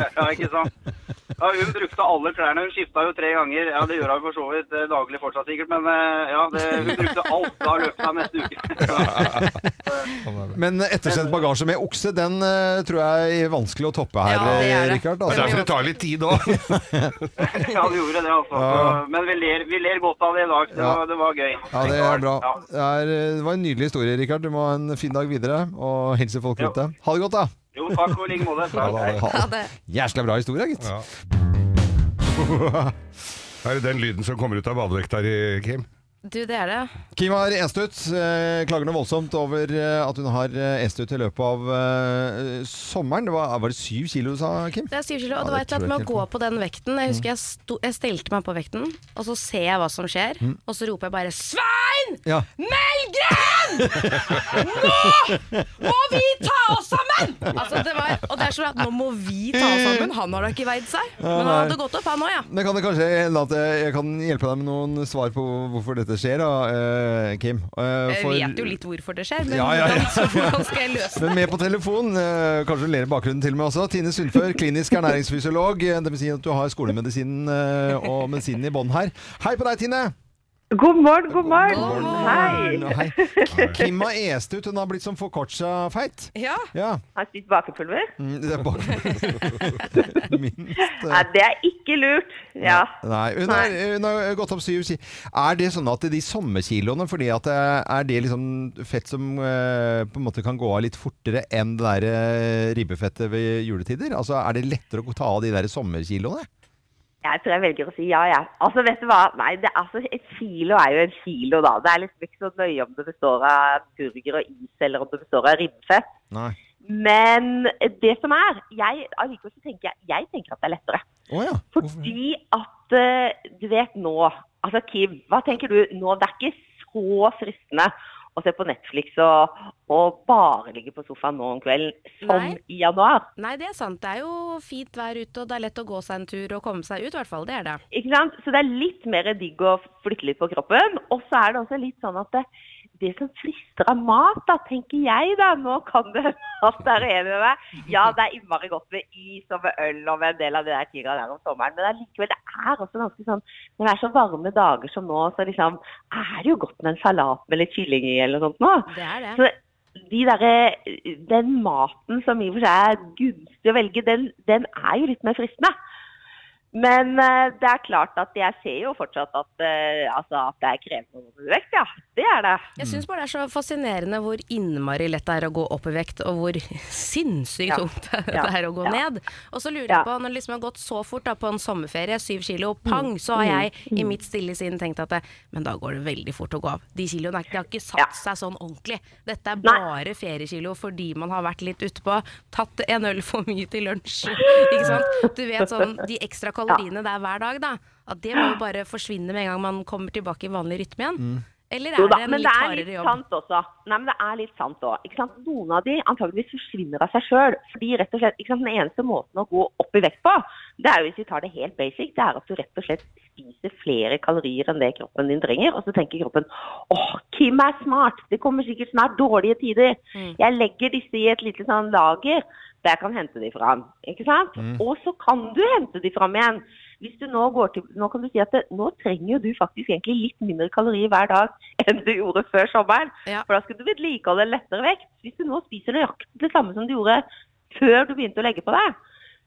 Speaker 9: ja, ikke sant. Ja, hun brukte alle klærne. Hun skifta jo tre ganger. Ja, Det gjør hun for så vidt eh, daglig fortsatt sikkert, men eh, ja, det, hun brukte alt da i løpet av neste uke.
Speaker 1: Men eh, ettersendt bagasje med okse, den eh, tror jeg er vanskelig å toppe her,
Speaker 2: Ja, det er det.
Speaker 1: Rikard.
Speaker 3: Det er
Speaker 1: Altså.
Speaker 3: derfor det tar litt tid òg.
Speaker 9: Ja, det gjorde det, altså.
Speaker 1: Ja.
Speaker 9: Så, Men vi ler, vi ler godt av det i dag. Det,
Speaker 1: Ja.
Speaker 9: var, det var gøy.
Speaker 1: Ja, det er bra.
Speaker 9: Ja.
Speaker 1: Det, er, eh, det var en nydelig historie, Rikard. Du må ha en fin dag videre, og hilse folk
Speaker 9: Ja.
Speaker 1: rundt deg. Ha det godt, da!
Speaker 9: Jo, takk og i like måte. Takk.
Speaker 2: Ha det.
Speaker 1: Jæskla bra historie, gitt.
Speaker 3: Ja. Er det den lyden som kommer ut av badevekta di, Kim?
Speaker 2: Du, det er det.
Speaker 1: Kim har enstøtt. eh, Klager nå voldsomt over eh, at hun har eh, enstøtt i løpet av eh, sommeren. Det var, var det syv kilo, du sa Kim?
Speaker 2: Det er syv kilo,
Speaker 1: Ja,
Speaker 2: og
Speaker 1: det
Speaker 2: det var et eller
Speaker 1: tror
Speaker 2: annet
Speaker 1: jeg
Speaker 2: med å
Speaker 1: ikke Mm.
Speaker 2: gå på den vekten. Jeg husker jeg, sto, jeg stelte meg på vekten, og så ser jeg hva som skjer,
Speaker 1: Mm.
Speaker 2: og så roper jeg bare 'Svein!
Speaker 1: Ja.
Speaker 2: Melgren! Nå må vi ta oss sammen!' Altså, det var, og det er sånn at 'nå må vi ta oss sammen'. Han har da ikke veid seg. Men han
Speaker 1: nei.
Speaker 2: hadde gått opp, han òg, ja.
Speaker 1: Men kan det kanskje hende at jeg jeg kan hjelpe deg med noen svar på hvorfor dette skjer, da, eh, Kim? Eh,
Speaker 2: Jeg
Speaker 1: for-
Speaker 2: vet jo litt hvorfor det skjer, men
Speaker 1: Ja, ja, ja.
Speaker 2: Hvordan, hvordan skal jeg løse det?
Speaker 1: Men med på telefon, eh, kanskje du ler i bakgrunnen til og med også, Tine Sundfør, klinisk ernæringsfysiolog. Eh, Det vil si at du har skolemedisinen eh, og medisinen i bånn her. Hei på deg, Tine!
Speaker 9: God morgen, god morgen. Hei.
Speaker 1: Hei. Kim har est ut. Hun har blitt som foccaccia-feit.
Speaker 9: Ja.
Speaker 1: Ja.
Speaker 9: Har spist bakepulver?
Speaker 1: Mm, Det er eh, bare
Speaker 9: Nei, det er ikke lurt. Ja.
Speaker 1: Nei, hun, er, hun har gått opp syv kilo. Er det sånn at de sommerkiloene fordi at det Er det liksom fett som eh, på en måte kan gå av litt fortere enn det der eh, ribbefettet ved juletider? Altså, Er det lettere å ta av de der sommerkiloene?
Speaker 9: Jeg tror jeg velger å si ja, jeg. Ja. Altså, vet du hva? Nei, det, altså, et kilo er jo en kilo, da. Det er liksom ikke så nøye om det består av burger og is, eller om det består av ribbefett.
Speaker 1: Nei.
Speaker 9: Men det som er jeg, Allikevel så tenker jeg, jeg tenker at det er lettere.
Speaker 1: Å ja.
Speaker 9: Fordi at eh, du vet nå Altså Kim, hva tenker du nå? Det er ikke så fristende å se på Netflix og, og bare ligge på sofaen nå om kvelden som
Speaker 2: Nei.
Speaker 9: i januar.
Speaker 2: Nei, det er sant. Det er jo fint vær ute, og det er lett å gå seg en tur og komme seg ut, i hvert fall. Det er det.
Speaker 9: Ikke sant? Så det er litt mer digg å flytte litt på kroppen. Og så er det også litt sånn at det, det som frister av mat, da, tenker jeg da, nå kan det hende at det er enig med meg. Ja, det er innmari godt med is og med øl og med en del av de der tinga der om sommeren, men allikevel, det er også ganske sånn Når det er så varme dager som nå, så liksom er det jo godt med en salat med litt kylling i eller noe sånt nå.
Speaker 2: Det er det.
Speaker 9: Så de derre- den maten som i og for seg er gunstig å velge, den, den er jo litt mer fristende. Men eh, det er klart at jeg ser jo fortsatt at, eh, altså at det er krevende å gå ned i vekt, ja. Det er det.
Speaker 2: Jeg syns bare det er så fascinerende hvor innmari lett det er å gå opp i vekt, og hvor sinnssykt
Speaker 9: Ja.
Speaker 2: tungt det
Speaker 9: Ja.
Speaker 2: er å gå
Speaker 9: Ja.
Speaker 2: ned. Og så lurer
Speaker 9: Ja.
Speaker 2: jeg på, når det liksom har gått så fort da, på en sommerferie, syv kilo, pang, så har
Speaker 9: Mm.
Speaker 2: jeg i mitt stille sinn tenkt at det, men da går det veldig fort å gå av. De kiloene er ikke- de har ikke satt seg sånn ordentlig. Dette er bare feriekilo fordi man har vært litt utpå, tatt en øl for mye til lunsj, ikke sant. Du vet sånn, de ekstra kaloriene det er hver dag, da. At det må jo bare forsvinne med en gang man kommer tilbake i vanlig rytme igjen. Eller
Speaker 9: Jo
Speaker 2: er
Speaker 9: da,
Speaker 2: det en
Speaker 9: men
Speaker 2: litt
Speaker 9: det er
Speaker 2: hardere
Speaker 9: litt
Speaker 2: jobb?
Speaker 9: sant også. Nei, men det er litt sant også. Ikke sant? Noen av de antageligvis forsvinner av seg sjøl. Fordi rett og slett, ikke sant? den eneste måten å gå opp i vekt på, det er jo hvis vi tar det helt basic, det er at du rett og slett spiser flere kalorier enn det kroppen din trenger. Og så tenker kroppen åh, Kim er smart, det kommer sikkert snart dårlige tider.
Speaker 10: Mm.
Speaker 9: Jeg legger disse i et lite sånn lager der jeg kan hente de fram. Ikke sant?
Speaker 10: Mm.
Speaker 9: Og så kan du hente de fram igjen. Hvis du nå går til Nå kan du si at det, nå trenger jo du faktisk egentlig litt mindre kalorier hver dag enn du gjorde før sommeren. For da skal du vedlikeholde en lettere vekt. Hvis du nå spiser nøyaktig det samme som du gjorde før du begynte å legge på deg,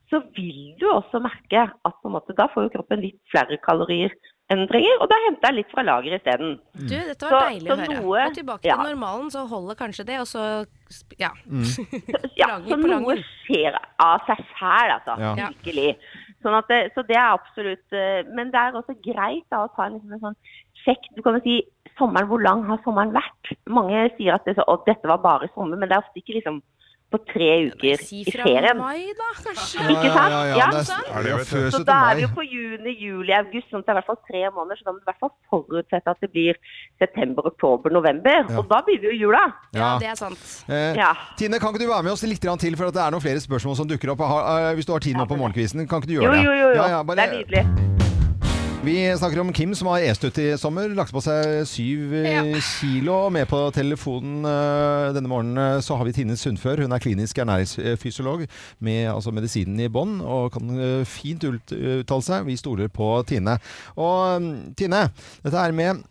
Speaker 9: så vil du også merke at på en måte, da får jo kroppen litt flere kalorier enn den trenger, og da henter den litt fra lageret isteden.
Speaker 2: Du, dette var
Speaker 9: Mm. Så-
Speaker 2: deilig
Speaker 9: så
Speaker 2: å høre.
Speaker 9: noe-
Speaker 2: og tilbake
Speaker 9: ja.
Speaker 2: til normalen, så holder kanskje det, og så sp- ja.
Speaker 1: Mm.
Speaker 9: Ja,
Speaker 2: Langer
Speaker 9: så
Speaker 2: på
Speaker 9: noe
Speaker 2: langer.
Speaker 9: skjer av seg sjæl, altså.
Speaker 2: Ja. Ja.
Speaker 9: Virkelig. Sånn at det, så det er absolutt eh, Men det er også greit da, å ta en, liksom, en sånn sjekk. Du kan jo si sommeren, hvor lang har sommeren vært? Mange sier at det, er så, «Å, dette var bare sommer, men det er ofte ikke liksom på tre uker
Speaker 2: Si
Speaker 9: i
Speaker 2: fra
Speaker 9: ferien.
Speaker 2: mai, da, kanskje.
Speaker 9: Ikke sant? Så da er vi jo
Speaker 2: jo
Speaker 9: på juni, juli, august, sånn at det er i hvert fall tre måneder. Så da må du i hvert fall forutsette at det blir september, oktober, november. Og da begynner jo jula.
Speaker 1: Ja,
Speaker 2: det er sant.
Speaker 1: Eh, Tine, kan ikke du være med oss litt grann til, for at det er noen flere spørsmål som dukker opp. Har- eh, Hvis du har tid nå på morgenkvisten, kan ikke du
Speaker 9: Jo,
Speaker 1: gjøre det?
Speaker 9: jo, jo. jo.
Speaker 1: Ja, ja, bare-
Speaker 9: Det er nydelig.
Speaker 1: Vi snakker om Kim som har est ut i sommer. Lagt på seg syv eh, kilo. Med på telefonen eh, denne morgenen eh, så har vi Tine Sundfør. Hun er klinisk ernæringsfysiolog med altså, medisinen i bånn og kan eh, fint ut- uttale seg. Vi stoler på Tine. Og mm, Tine, dette er med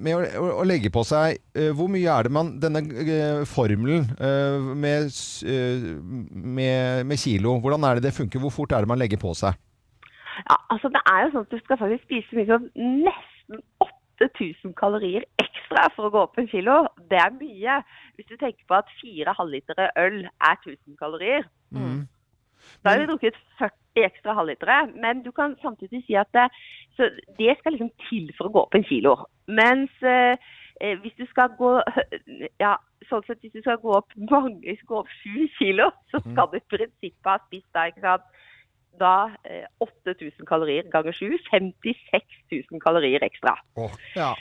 Speaker 1: med å, å, å legge på seg eh, Hvor mye er det man Denne eh, formelen eh, med, s- eh, med, med kilo, hvordan er det det funker? Hvor fort er det man legger på seg?
Speaker 9: Ja, altså det er jo sånn at du skal faktisk spise så mye som nesten 8000 kalorier ekstra for å gå opp en kilo. Det er mye. Hvis du tenker på at fire halvlitere øl er 1000 kalorier, da har vi drukket 40 ekstra halvlitere. Men du kan samtidig si at det, så det skal liksom til for å gå opp en kilo. Mens eh, eh, hvis du skal gå ja, sånn sett hvis du skal gå opp mange, hvis du skal gå opp sju kilo, så skal du i prinsippet ha spist da, ikke sant? da eh, 8000 kalorier ganger 7, 56 000 kalorier ekstra.
Speaker 1: ja.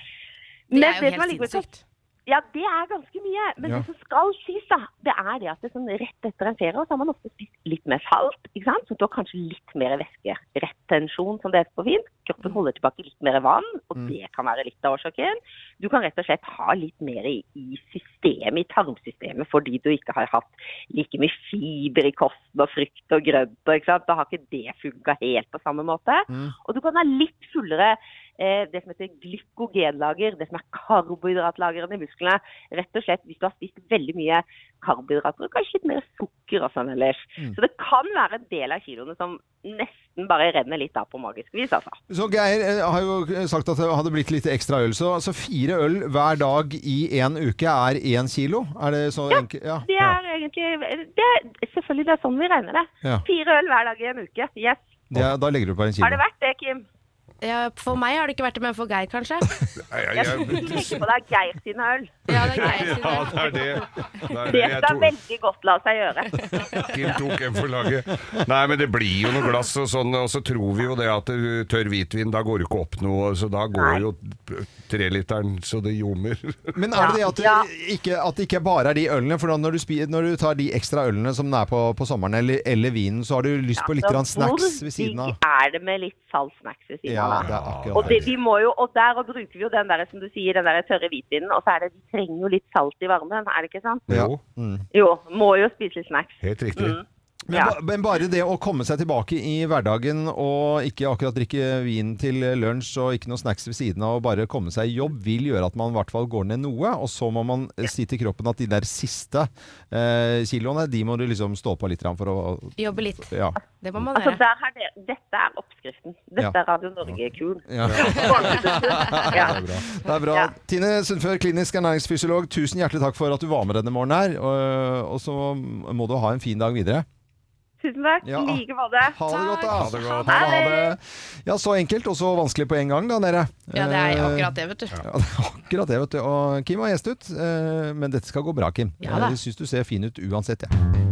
Speaker 9: Men
Speaker 2: Det er jo
Speaker 9: som
Speaker 2: helt
Speaker 9: allikevel-
Speaker 2: sinnssykt.
Speaker 9: Ja, det er ganske mye. Men
Speaker 1: Ja.
Speaker 9: det som skal sies, da, det er det at det er sånn rett etter en ferie så har man ofte spist litt mer salt. ikke sant? Så du har kanskje litt mer væske. Retensjon, som det heter på fint. Kroppen holder tilbake litt mer vann, og
Speaker 10: Mm.
Speaker 9: det kan være litt av årsaken. Du kan rett og slett ha litt mer i, i systemet, i tarmsystemet, fordi du ikke har hatt like mye fiber i kosten og frukt og grønt. og ikke sant? Da har ikke det funka helt på samme måte. Og du kan ha litt fullere eh, det som heter glykogenlager, det som er karbohydratlagrene i musklene. Rett og slett hvis du har spist veldig mye karbohydrater og kanskje litt mer sukker og sånn ellers.
Speaker 1: Mm.
Speaker 9: Så det kan være en del av kiloene som nesten bare renner litt av på magisk vis, altså.
Speaker 1: Så Geir eh, har jo sagt at det hadde blitt litt ekstra øl, så altså fire øl hver dag i en uke er én kilo? Er det så enkelt? Ja.
Speaker 9: Det er egentlig det er, Selvfølgelig det er sånn vi regner det.
Speaker 1: Ja.
Speaker 9: Fire øl hver dag i en uke. Yes.
Speaker 1: Det er, da legger du på en
Speaker 9: Har
Speaker 1: kilo.
Speaker 9: det vært det, Kim?
Speaker 2: Ja, for meg har det ikke vært det, men for Geir kanskje.
Speaker 9: Jeg tenker på deg Geir sine øl.
Speaker 2: Ja, det
Speaker 3: Ja, det er det. Det er
Speaker 9: Det
Speaker 3: det. Jeg
Speaker 9: skal
Speaker 3: tror-
Speaker 9: veldig godt la seg gjøre.
Speaker 3: Kim tok en for laget. Nei, men det blir jo noe glass og sånn, og så tror vi jo det at det tørr hvitvin, da går det ikke opp noe, så da går jo treliteren så det ljomer.
Speaker 1: Men er det det at det, ikke, at det ikke bare er de ølene? For da når du, spi, når du tar de ekstra ølene som det er på, på sommeren, eller, eller vinen, så har du lyst på litt grann snacks ved siden av?
Speaker 9: Altså, Hvor digg er det med litt salt snacks ved siden
Speaker 1: Ja,
Speaker 9: av?
Speaker 1: det
Speaker 9: da?
Speaker 1: er akkurat
Speaker 9: og, det, vi må jo, og der og bruker vi jo den der, som du sier, den der tørre hvitvinen. Og så er det, vi trenger jo litt salt i varmen, er det ikke sant?
Speaker 3: Jo,
Speaker 9: Jo, må jo spise litt snacks.
Speaker 3: helt riktig.
Speaker 9: Mm.
Speaker 1: Men, ba, men bare det å komme seg tilbake i hverdagen og ikke akkurat drikke vin til lunsj og ikke noe snacks ved siden av og bare komme seg i jobb, vil gjøre at man i hvert fall går ned noe. Og så må man eh, si til kroppen at de der siste eh, kiloene, de må du liksom stå på litt grann for å
Speaker 2: Jobbe litt.
Speaker 1: Ja.
Speaker 2: Det må man
Speaker 9: Altså,
Speaker 2: gjøre.
Speaker 9: der har dere, dette er oppskriften. Dette
Speaker 1: Ja.
Speaker 9: er Radio Norge-kul.
Speaker 1: Ja.
Speaker 9: Ja.
Speaker 1: Det er bra. Det er bra. Tine Sundfør, klinisk ernæringsfysiolog, tusen hjertelig takk for at du var med denne morgenen her. Og, og så må du ha en fin dag videre.
Speaker 9: Tusen takk.
Speaker 1: Ja.
Speaker 9: I like måte.
Speaker 1: Ha det godt, da.
Speaker 3: Ha det godt.
Speaker 1: Ha det, ha det. Ja, så enkelt og så vanskelig på en gang, da, dere. Eh,
Speaker 2: Ja, det er akkurat det, vet du.
Speaker 1: Ja, det er akkurat det, vet du. Og Kim var gjest ut, eh, men dette skal gå bra, Kim.
Speaker 2: Ja da.
Speaker 1: Jeg syns du ser fin ut uansett, jeg.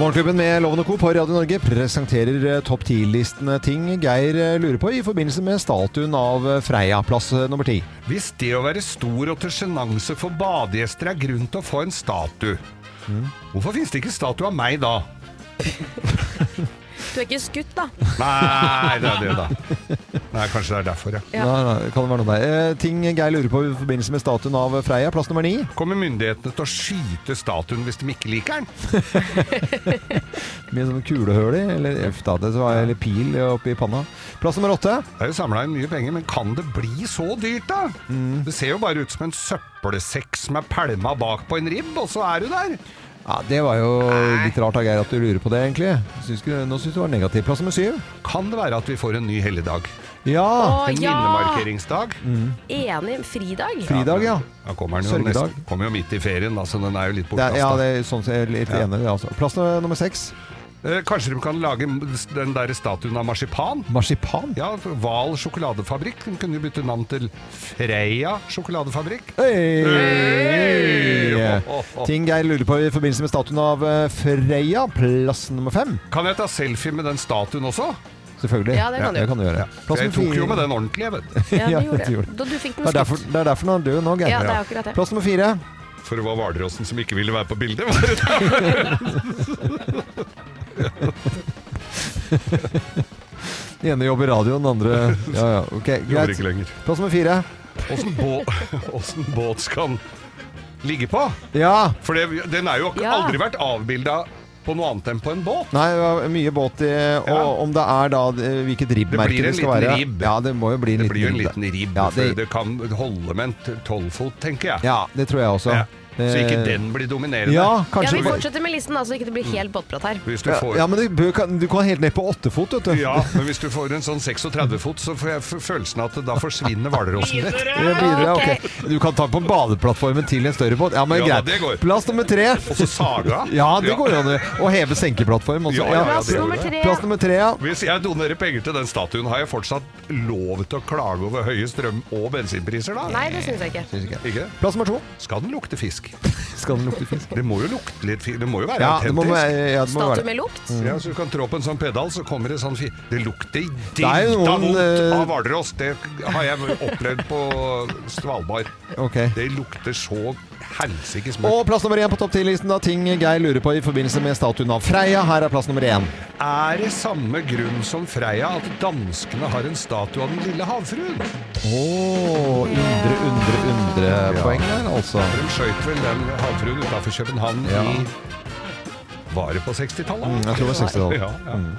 Speaker 1: Morgenklubben med Loven og Co. på Radio Norge presenterer eh, topp 10-listene ting Geir eh, lurer på i forbindelse med statuen av eh, Freia, plass eh, nummer ti.
Speaker 3: Hvis det å være stor og til sjenanse for badegjester er grunn til å få en statue, hvorfor finnes det ikke statue av meg da?
Speaker 2: Du er ikke skutt, da.
Speaker 3: Nei, det er det da. Nei, kanskje det er derfor, ja.
Speaker 2: Ja.
Speaker 1: Nei, nei, kan det være noe der. Eh, ting Geir lurer på i forbindelse med statuen av eh, Freia, plass nummer ni.
Speaker 3: Kommer myndighetene til å skyte statuen hvis de ikke liker den?
Speaker 1: Med sånn kulehøl i, eller F da, det var, eller pil oppi panna. Plass nummer åtte.
Speaker 3: Det er jo samla inn mye penger, men kan det bli så dyrt, da?
Speaker 1: Mm.
Speaker 3: Det ser jo bare ut som en søppelsekk som er pælma bak på en ribb, og så er du der.
Speaker 1: Ja, Det var jo litt rart av Geir at du lurer på det, egentlig. Syns ikke, nå syns du det var negativ. Plass nummer syv.
Speaker 3: Kan det være at vi får en ny helligdag?
Speaker 1: Ja!
Speaker 2: Å
Speaker 3: En
Speaker 2: ja!
Speaker 3: minnemarkeringsdag?
Speaker 2: Enig. Fridag.
Speaker 1: Fridag, ja.
Speaker 3: Da kommer den jo,
Speaker 1: Sørgedag.
Speaker 3: nesten, kommer jo midt i ferien, da, så den er jo litt altså.
Speaker 1: Det er, ja,
Speaker 3: bortkasta.
Speaker 1: det er sånn som jeg er litt
Speaker 3: Ja.
Speaker 1: enig i det. Altså. Plass nummer seks.
Speaker 3: Eh, Kanskje de kan lage den der statuen av marsipan?
Speaker 1: Marsipan.
Speaker 3: Ja, Hval sjokoladefabrikk. Den kunne jo bytte navn til Freia sjokoladefabrikk.
Speaker 1: Hey!
Speaker 3: Hey! Ho, ho, ho.
Speaker 1: Ting Geir lurer på i forbindelse med statuen av eh, Freia. Plass nummer fem.
Speaker 3: Kan jeg ta selfie med den statuen også?
Speaker 1: Selvfølgelig.
Speaker 2: Ja, det kan du.
Speaker 1: gjøre. Plass
Speaker 3: Jeg
Speaker 1: nummer
Speaker 3: tok jo
Speaker 1: fire.
Speaker 3: med den ordentlig, jeg vet.
Speaker 2: Ja,
Speaker 1: Ja,
Speaker 2: du
Speaker 1: det
Speaker 2: gjorde
Speaker 1: gjorde
Speaker 2: det. Da du fikk
Speaker 1: Det
Speaker 2: den
Speaker 1: er derfor,
Speaker 2: skutt.
Speaker 1: det er derfor den er død nå, Geir.
Speaker 2: Ja, det er akkurat det.
Speaker 1: Plass nummer fire.
Speaker 3: For det var Hvalrossen som ikke ville være på bildet. var det det?
Speaker 1: Den ene jobber i radioen, den andre Ja, ja. Ok,
Speaker 3: Gjorde det
Speaker 1: greit.
Speaker 3: ikke lenger.
Speaker 1: Plass nummer fire.
Speaker 3: Åssen bå åssen båt skal den ligge på?
Speaker 1: Ja!
Speaker 3: For det, den er jo
Speaker 2: Ja.
Speaker 3: aldri vært avbilda på noe annet enn på en båt.
Speaker 1: Nei, det var mye båt i Og
Speaker 3: Ja.
Speaker 1: om det er da eh, hvilket
Speaker 3: Det blir
Speaker 1: ribbmerke
Speaker 3: en
Speaker 1: det skal
Speaker 3: liten
Speaker 1: være.
Speaker 3: ribb.
Speaker 1: Ja, det må jo bli en
Speaker 3: Det
Speaker 1: liten
Speaker 3: blir jo en
Speaker 1: ribb.
Speaker 3: liten ribb,
Speaker 1: Ja,
Speaker 3: for
Speaker 1: det,
Speaker 3: det kan holde med en tolvfot, tenker jeg.
Speaker 1: ja, det tror jeg også.
Speaker 3: Ja. Så ikke
Speaker 1: Eh,
Speaker 3: den blir dominerende.
Speaker 1: Ja,
Speaker 2: Ja,
Speaker 1: kanskje Mm.
Speaker 2: vi fortsetter med listen, da, så ikke det blir helt båtprat her.
Speaker 3: Hvis du
Speaker 1: ja,
Speaker 3: får
Speaker 1: ja, men du, bør, kan, du kan helt ned på åttefot, vet du.
Speaker 3: Ja, men hvis du får en sånn 36-fot, så får jeg f- følelsen at da forsvinner hvalrossen litt.
Speaker 1: Det blir det, ok. Du kan ta på badeplattformen til en større båt. Ja, men
Speaker 3: Ja, da, det går.
Speaker 1: greit. Plass nummer tre.
Speaker 3: Og så sager du av.
Speaker 1: Ja, det går jo an å- å heve senkeplattform også.
Speaker 3: Ja, ja, ja,
Speaker 2: Plass
Speaker 3: det gjør
Speaker 2: nummer
Speaker 3: det.
Speaker 2: tre.
Speaker 1: Plass nummer tre, ja.
Speaker 3: Hvis jeg donerer penger til den statuen, har jeg fortsatt lov til å klage over høye strøm- og bensinpriser, da?
Speaker 2: Nei, det syns jeg ikke.
Speaker 3: Ikke?
Speaker 1: Plass nummer to.
Speaker 3: Skal den lukte fisk?
Speaker 1: Skal den lukte fisk?
Speaker 3: Det må jo lukte litt fisk. Det må jo være
Speaker 1: Ja, det må,
Speaker 3: autentisk.
Speaker 1: være- ja, det må
Speaker 2: Statue
Speaker 1: være det.
Speaker 2: med lukt.
Speaker 3: Ja, så du kan trå på en sånn pedal, så kommer det sånn fi... Det lukter
Speaker 1: er jo
Speaker 3: drita
Speaker 1: noen,
Speaker 3: vondt
Speaker 1: eh,
Speaker 3: av hvalross. Det har jeg opplevd på Svalbard.
Speaker 1: Ok.
Speaker 3: Det lukter så helsikes
Speaker 1: Og
Speaker 3: mørkt.
Speaker 1: plass nummer én på topp 10-listen av ting Geir lurer på i forbindelse med statuen av Freia. Her er plass nummer én.
Speaker 3: Er det samme grunn som Freia at danskene har en statue av den lille havfruen?
Speaker 1: Å, undre, undre, undre poeng der, altså.
Speaker 3: De skjøt vel den havfruen utafor København
Speaker 1: Ja.
Speaker 3: i Var det på 60-tallet?
Speaker 1: Mm, jeg tror det var 60-tallet.
Speaker 3: Ja, ja.
Speaker 1: Mm.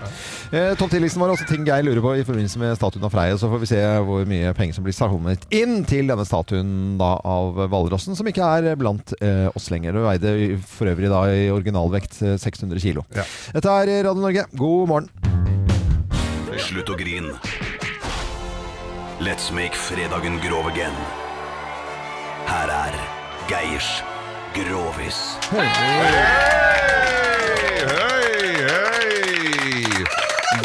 Speaker 1: Eh, Topp 10-listen var også ting Geir lurer på i forbindelse med statuen av Freia. Så får vi se hvor mye penger som blir samlet inn til denne statuen da, av hvalrossen, som ikke er blant eh, oss lenger. Du veide i- for øvrig da i originalvekt eh, 600 kilo. Dette er Radio Norge. God morgen.
Speaker 10: Slutt å grin. Let's make fredagen grov again. Her er Geirs Grovis.
Speaker 3: Høy, høy!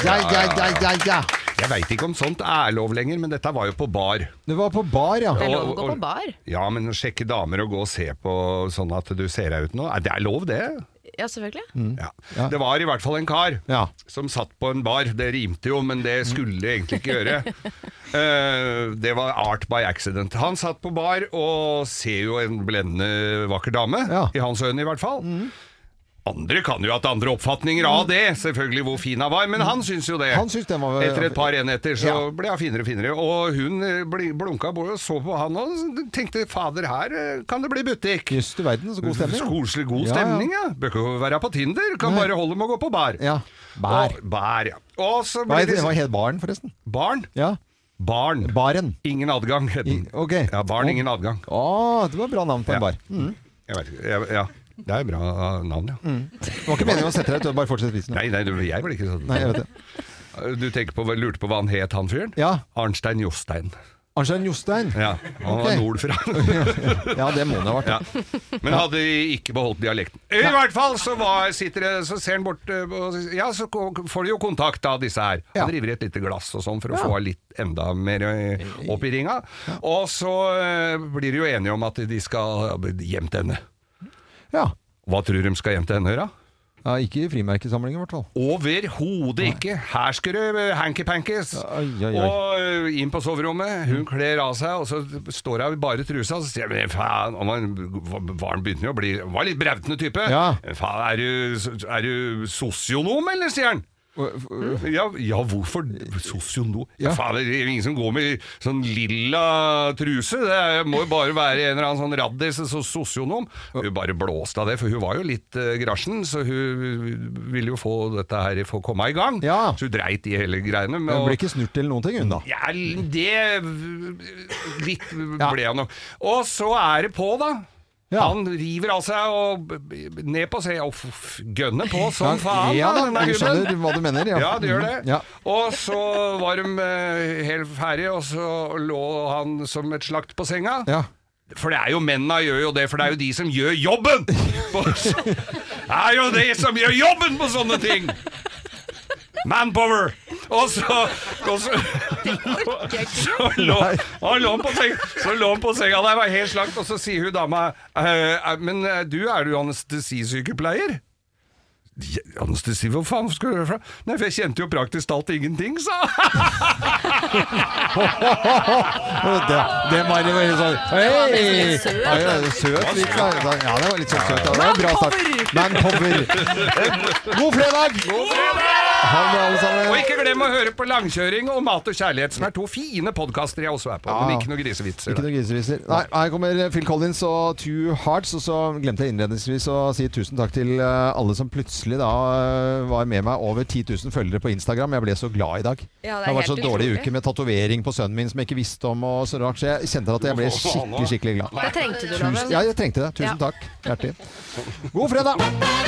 Speaker 1: Ja, ja, ja, ja, ja.
Speaker 3: Jeg veit ikke om sånt er lov lenger, men dette var jo på bar.
Speaker 1: Det var på bar, ja.
Speaker 2: Det er lov å gå på bar.
Speaker 3: Ja, men å sjekke damer og gå og se på sånn at du ser deg ut nå, er det er lov det?
Speaker 2: Ja, selvfølgelig.
Speaker 1: Mm.
Speaker 3: Ja. Det var i hvert fall en kar som satt på en bar. Det rimte jo, men det skulle det egentlig ikke gjøre. Eh, det var art by accident. Han satt på bar og ser jo en blendende vakker dame, i hans øyne i hvert fall.
Speaker 1: Mm.
Speaker 3: Andre kan jo ha hatt andre oppfatninger av det, selvfølgelig hvor fin hun var, men han syns jo det.
Speaker 1: Mm. Han syntes den var
Speaker 3: Etter et par enheter så ble jeg finere og finere. Og hun eh, bli- blunka bort og så på han og tenkte fader, her eh, kan det bli butikk.
Speaker 1: Jøss, du verden, så god stemning. da.
Speaker 3: Koselig god
Speaker 1: Ja, ja.
Speaker 3: stemning, ja. Bør ikke være på Tinder, kan
Speaker 1: Nei.
Speaker 3: bare holde med å gå på bar.
Speaker 1: Ja. Bær.
Speaker 3: Og, bær, ja. Og så
Speaker 1: Hva
Speaker 3: ble
Speaker 1: het,
Speaker 3: det-
Speaker 1: hva het baren, forresten?
Speaker 3: Barn?
Speaker 1: Ja.
Speaker 3: Barn.
Speaker 1: Baren.
Speaker 3: Ingen adgang, het den. Ja, barn,
Speaker 1: Å.
Speaker 3: ingen adgang.
Speaker 1: Å, det var bra navn på en bar. Mm.
Speaker 3: Jeg vet ikke, jeg, ja. Det er et bra eh, navn, ja.
Speaker 1: Det var ikke meningen å sette deg ut, bare fortsett visen.
Speaker 3: Nei, nei, du- jeg vil ikke sånn.
Speaker 1: Nei, jeg vet det.
Speaker 3: Du tenker på, lurte på hva han het, han fyren?
Speaker 1: Ja.
Speaker 3: Arnstein Jostein.
Speaker 1: Arnstein Jostein.
Speaker 3: Ja, han
Speaker 1: Ok.
Speaker 3: var nordfra.
Speaker 1: ja, det må det ha vært.
Speaker 3: Ja. Men hadde ikke beholdt dialekten. I hvert fall så, var, sitter, det- så ser han bort eh, og så- Ja, så ko- får du jo kontakt av disse her. Han driver i et lite glass og sånn for å
Speaker 1: Ja.
Speaker 3: få litt enda mer eh, opp i ringa. Og så eh, blir de jo enige om at de skal hjem til henne.
Speaker 1: Ja.
Speaker 3: Hva tror du de skal hjem til henne, da?
Speaker 1: Ja, ikke i frimerkesamlingen, i hvert fall.
Speaker 3: Overhodet ikke. Her skal du eh, hanky-pankys.
Speaker 1: Ai, ai, ai.
Speaker 3: Og ø, inn på soverommet, hun kler av seg, og så står hun i bare trusa, og så sier jeg, «Men faen, og man, var han begynte jo å bli, var litt brautende type.
Speaker 1: Ja.
Speaker 3: Faen, er du, er du sosionom, eller, sier han.
Speaker 1: Mm.
Speaker 3: Ja, ja, hvorfor sosionom? Ja. Faen, det er ingen som går med sånn lilla truse, det er- må jo bare være en eller annen sånn raddis, så sosionom. Hun bare blåste av det, for hun var jo litt eh, grasjen, så hun ville jo få dette her, få komme i gang. Så hun dreit i hele greiene. med
Speaker 1: Men
Speaker 3: å-
Speaker 1: blir ikke snurt eller noen ting, hun da.
Speaker 3: ja, det Litt ble han nok. Og så er det på, da. Han river av seg og b- b- ned på seg og f- f- gønner på som
Speaker 1: Ja,
Speaker 3: faen.
Speaker 1: ja da,
Speaker 3: denne
Speaker 1: vi
Speaker 3: gubben.
Speaker 1: skjønner hva du mener, ja.
Speaker 3: Ja, det gjør det.
Speaker 1: Mhm, ja.
Speaker 3: Og så var de eh, helt ferdige, og så lå han som et slakt på senga. For det er jo mennene gjør jo det, for det er jo de som gjør jobben! På, det er jo de som gjør jobben på sånne ting! Manpower! Og så, og så, så lå og lå han på seng- Så lå han på senga der, var helt slakt, og så sier hun dama «Eh, eh, Men eh, du, er du anestesisykepleier? «Ja, Anestesi, hvor faen skal du gjøre fra? Nei, for jeg kjente jo praktisk talt ingenting, sa
Speaker 1: Det, det var det veldig sånn Hei! Ai, ja, det er Søt, litt. da. Ja, det var litt sånn søt. Ja, det var en bra start. Manpower! God fredag!
Speaker 3: God fredag!
Speaker 1: Ha det, alle sammen.
Speaker 3: Og ikke glem å høre på Langkjøring og Mat og kjærlighet, som er to fine podkaster jeg også er på.
Speaker 1: Ja.
Speaker 3: Men ikke noe grisevitser.
Speaker 1: Ikke
Speaker 3: der.
Speaker 1: noe griseviser. Nei, her kommer Phil Collins og Two Hearts. Og så glemte jeg innledningsvis å si tusen takk til eh, alle som plutselig da eh, var med meg. Over 10 000 følgere på Instagram. Jeg ble så glad i dag.
Speaker 11: Ja, det er
Speaker 1: det har vært så
Speaker 11: helt
Speaker 1: dårlig
Speaker 11: utrolig.
Speaker 1: uke med tatovering på sønnen min som jeg ikke visste om. Og så rart, så jeg kjente at jeg ble skikkelig, skikkelig glad.
Speaker 11: Det trengte du, Loven.
Speaker 1: Tusen, ja, jeg trengte det. Tusen
Speaker 11: Ja.
Speaker 1: takk. Hjertelig. God fredag!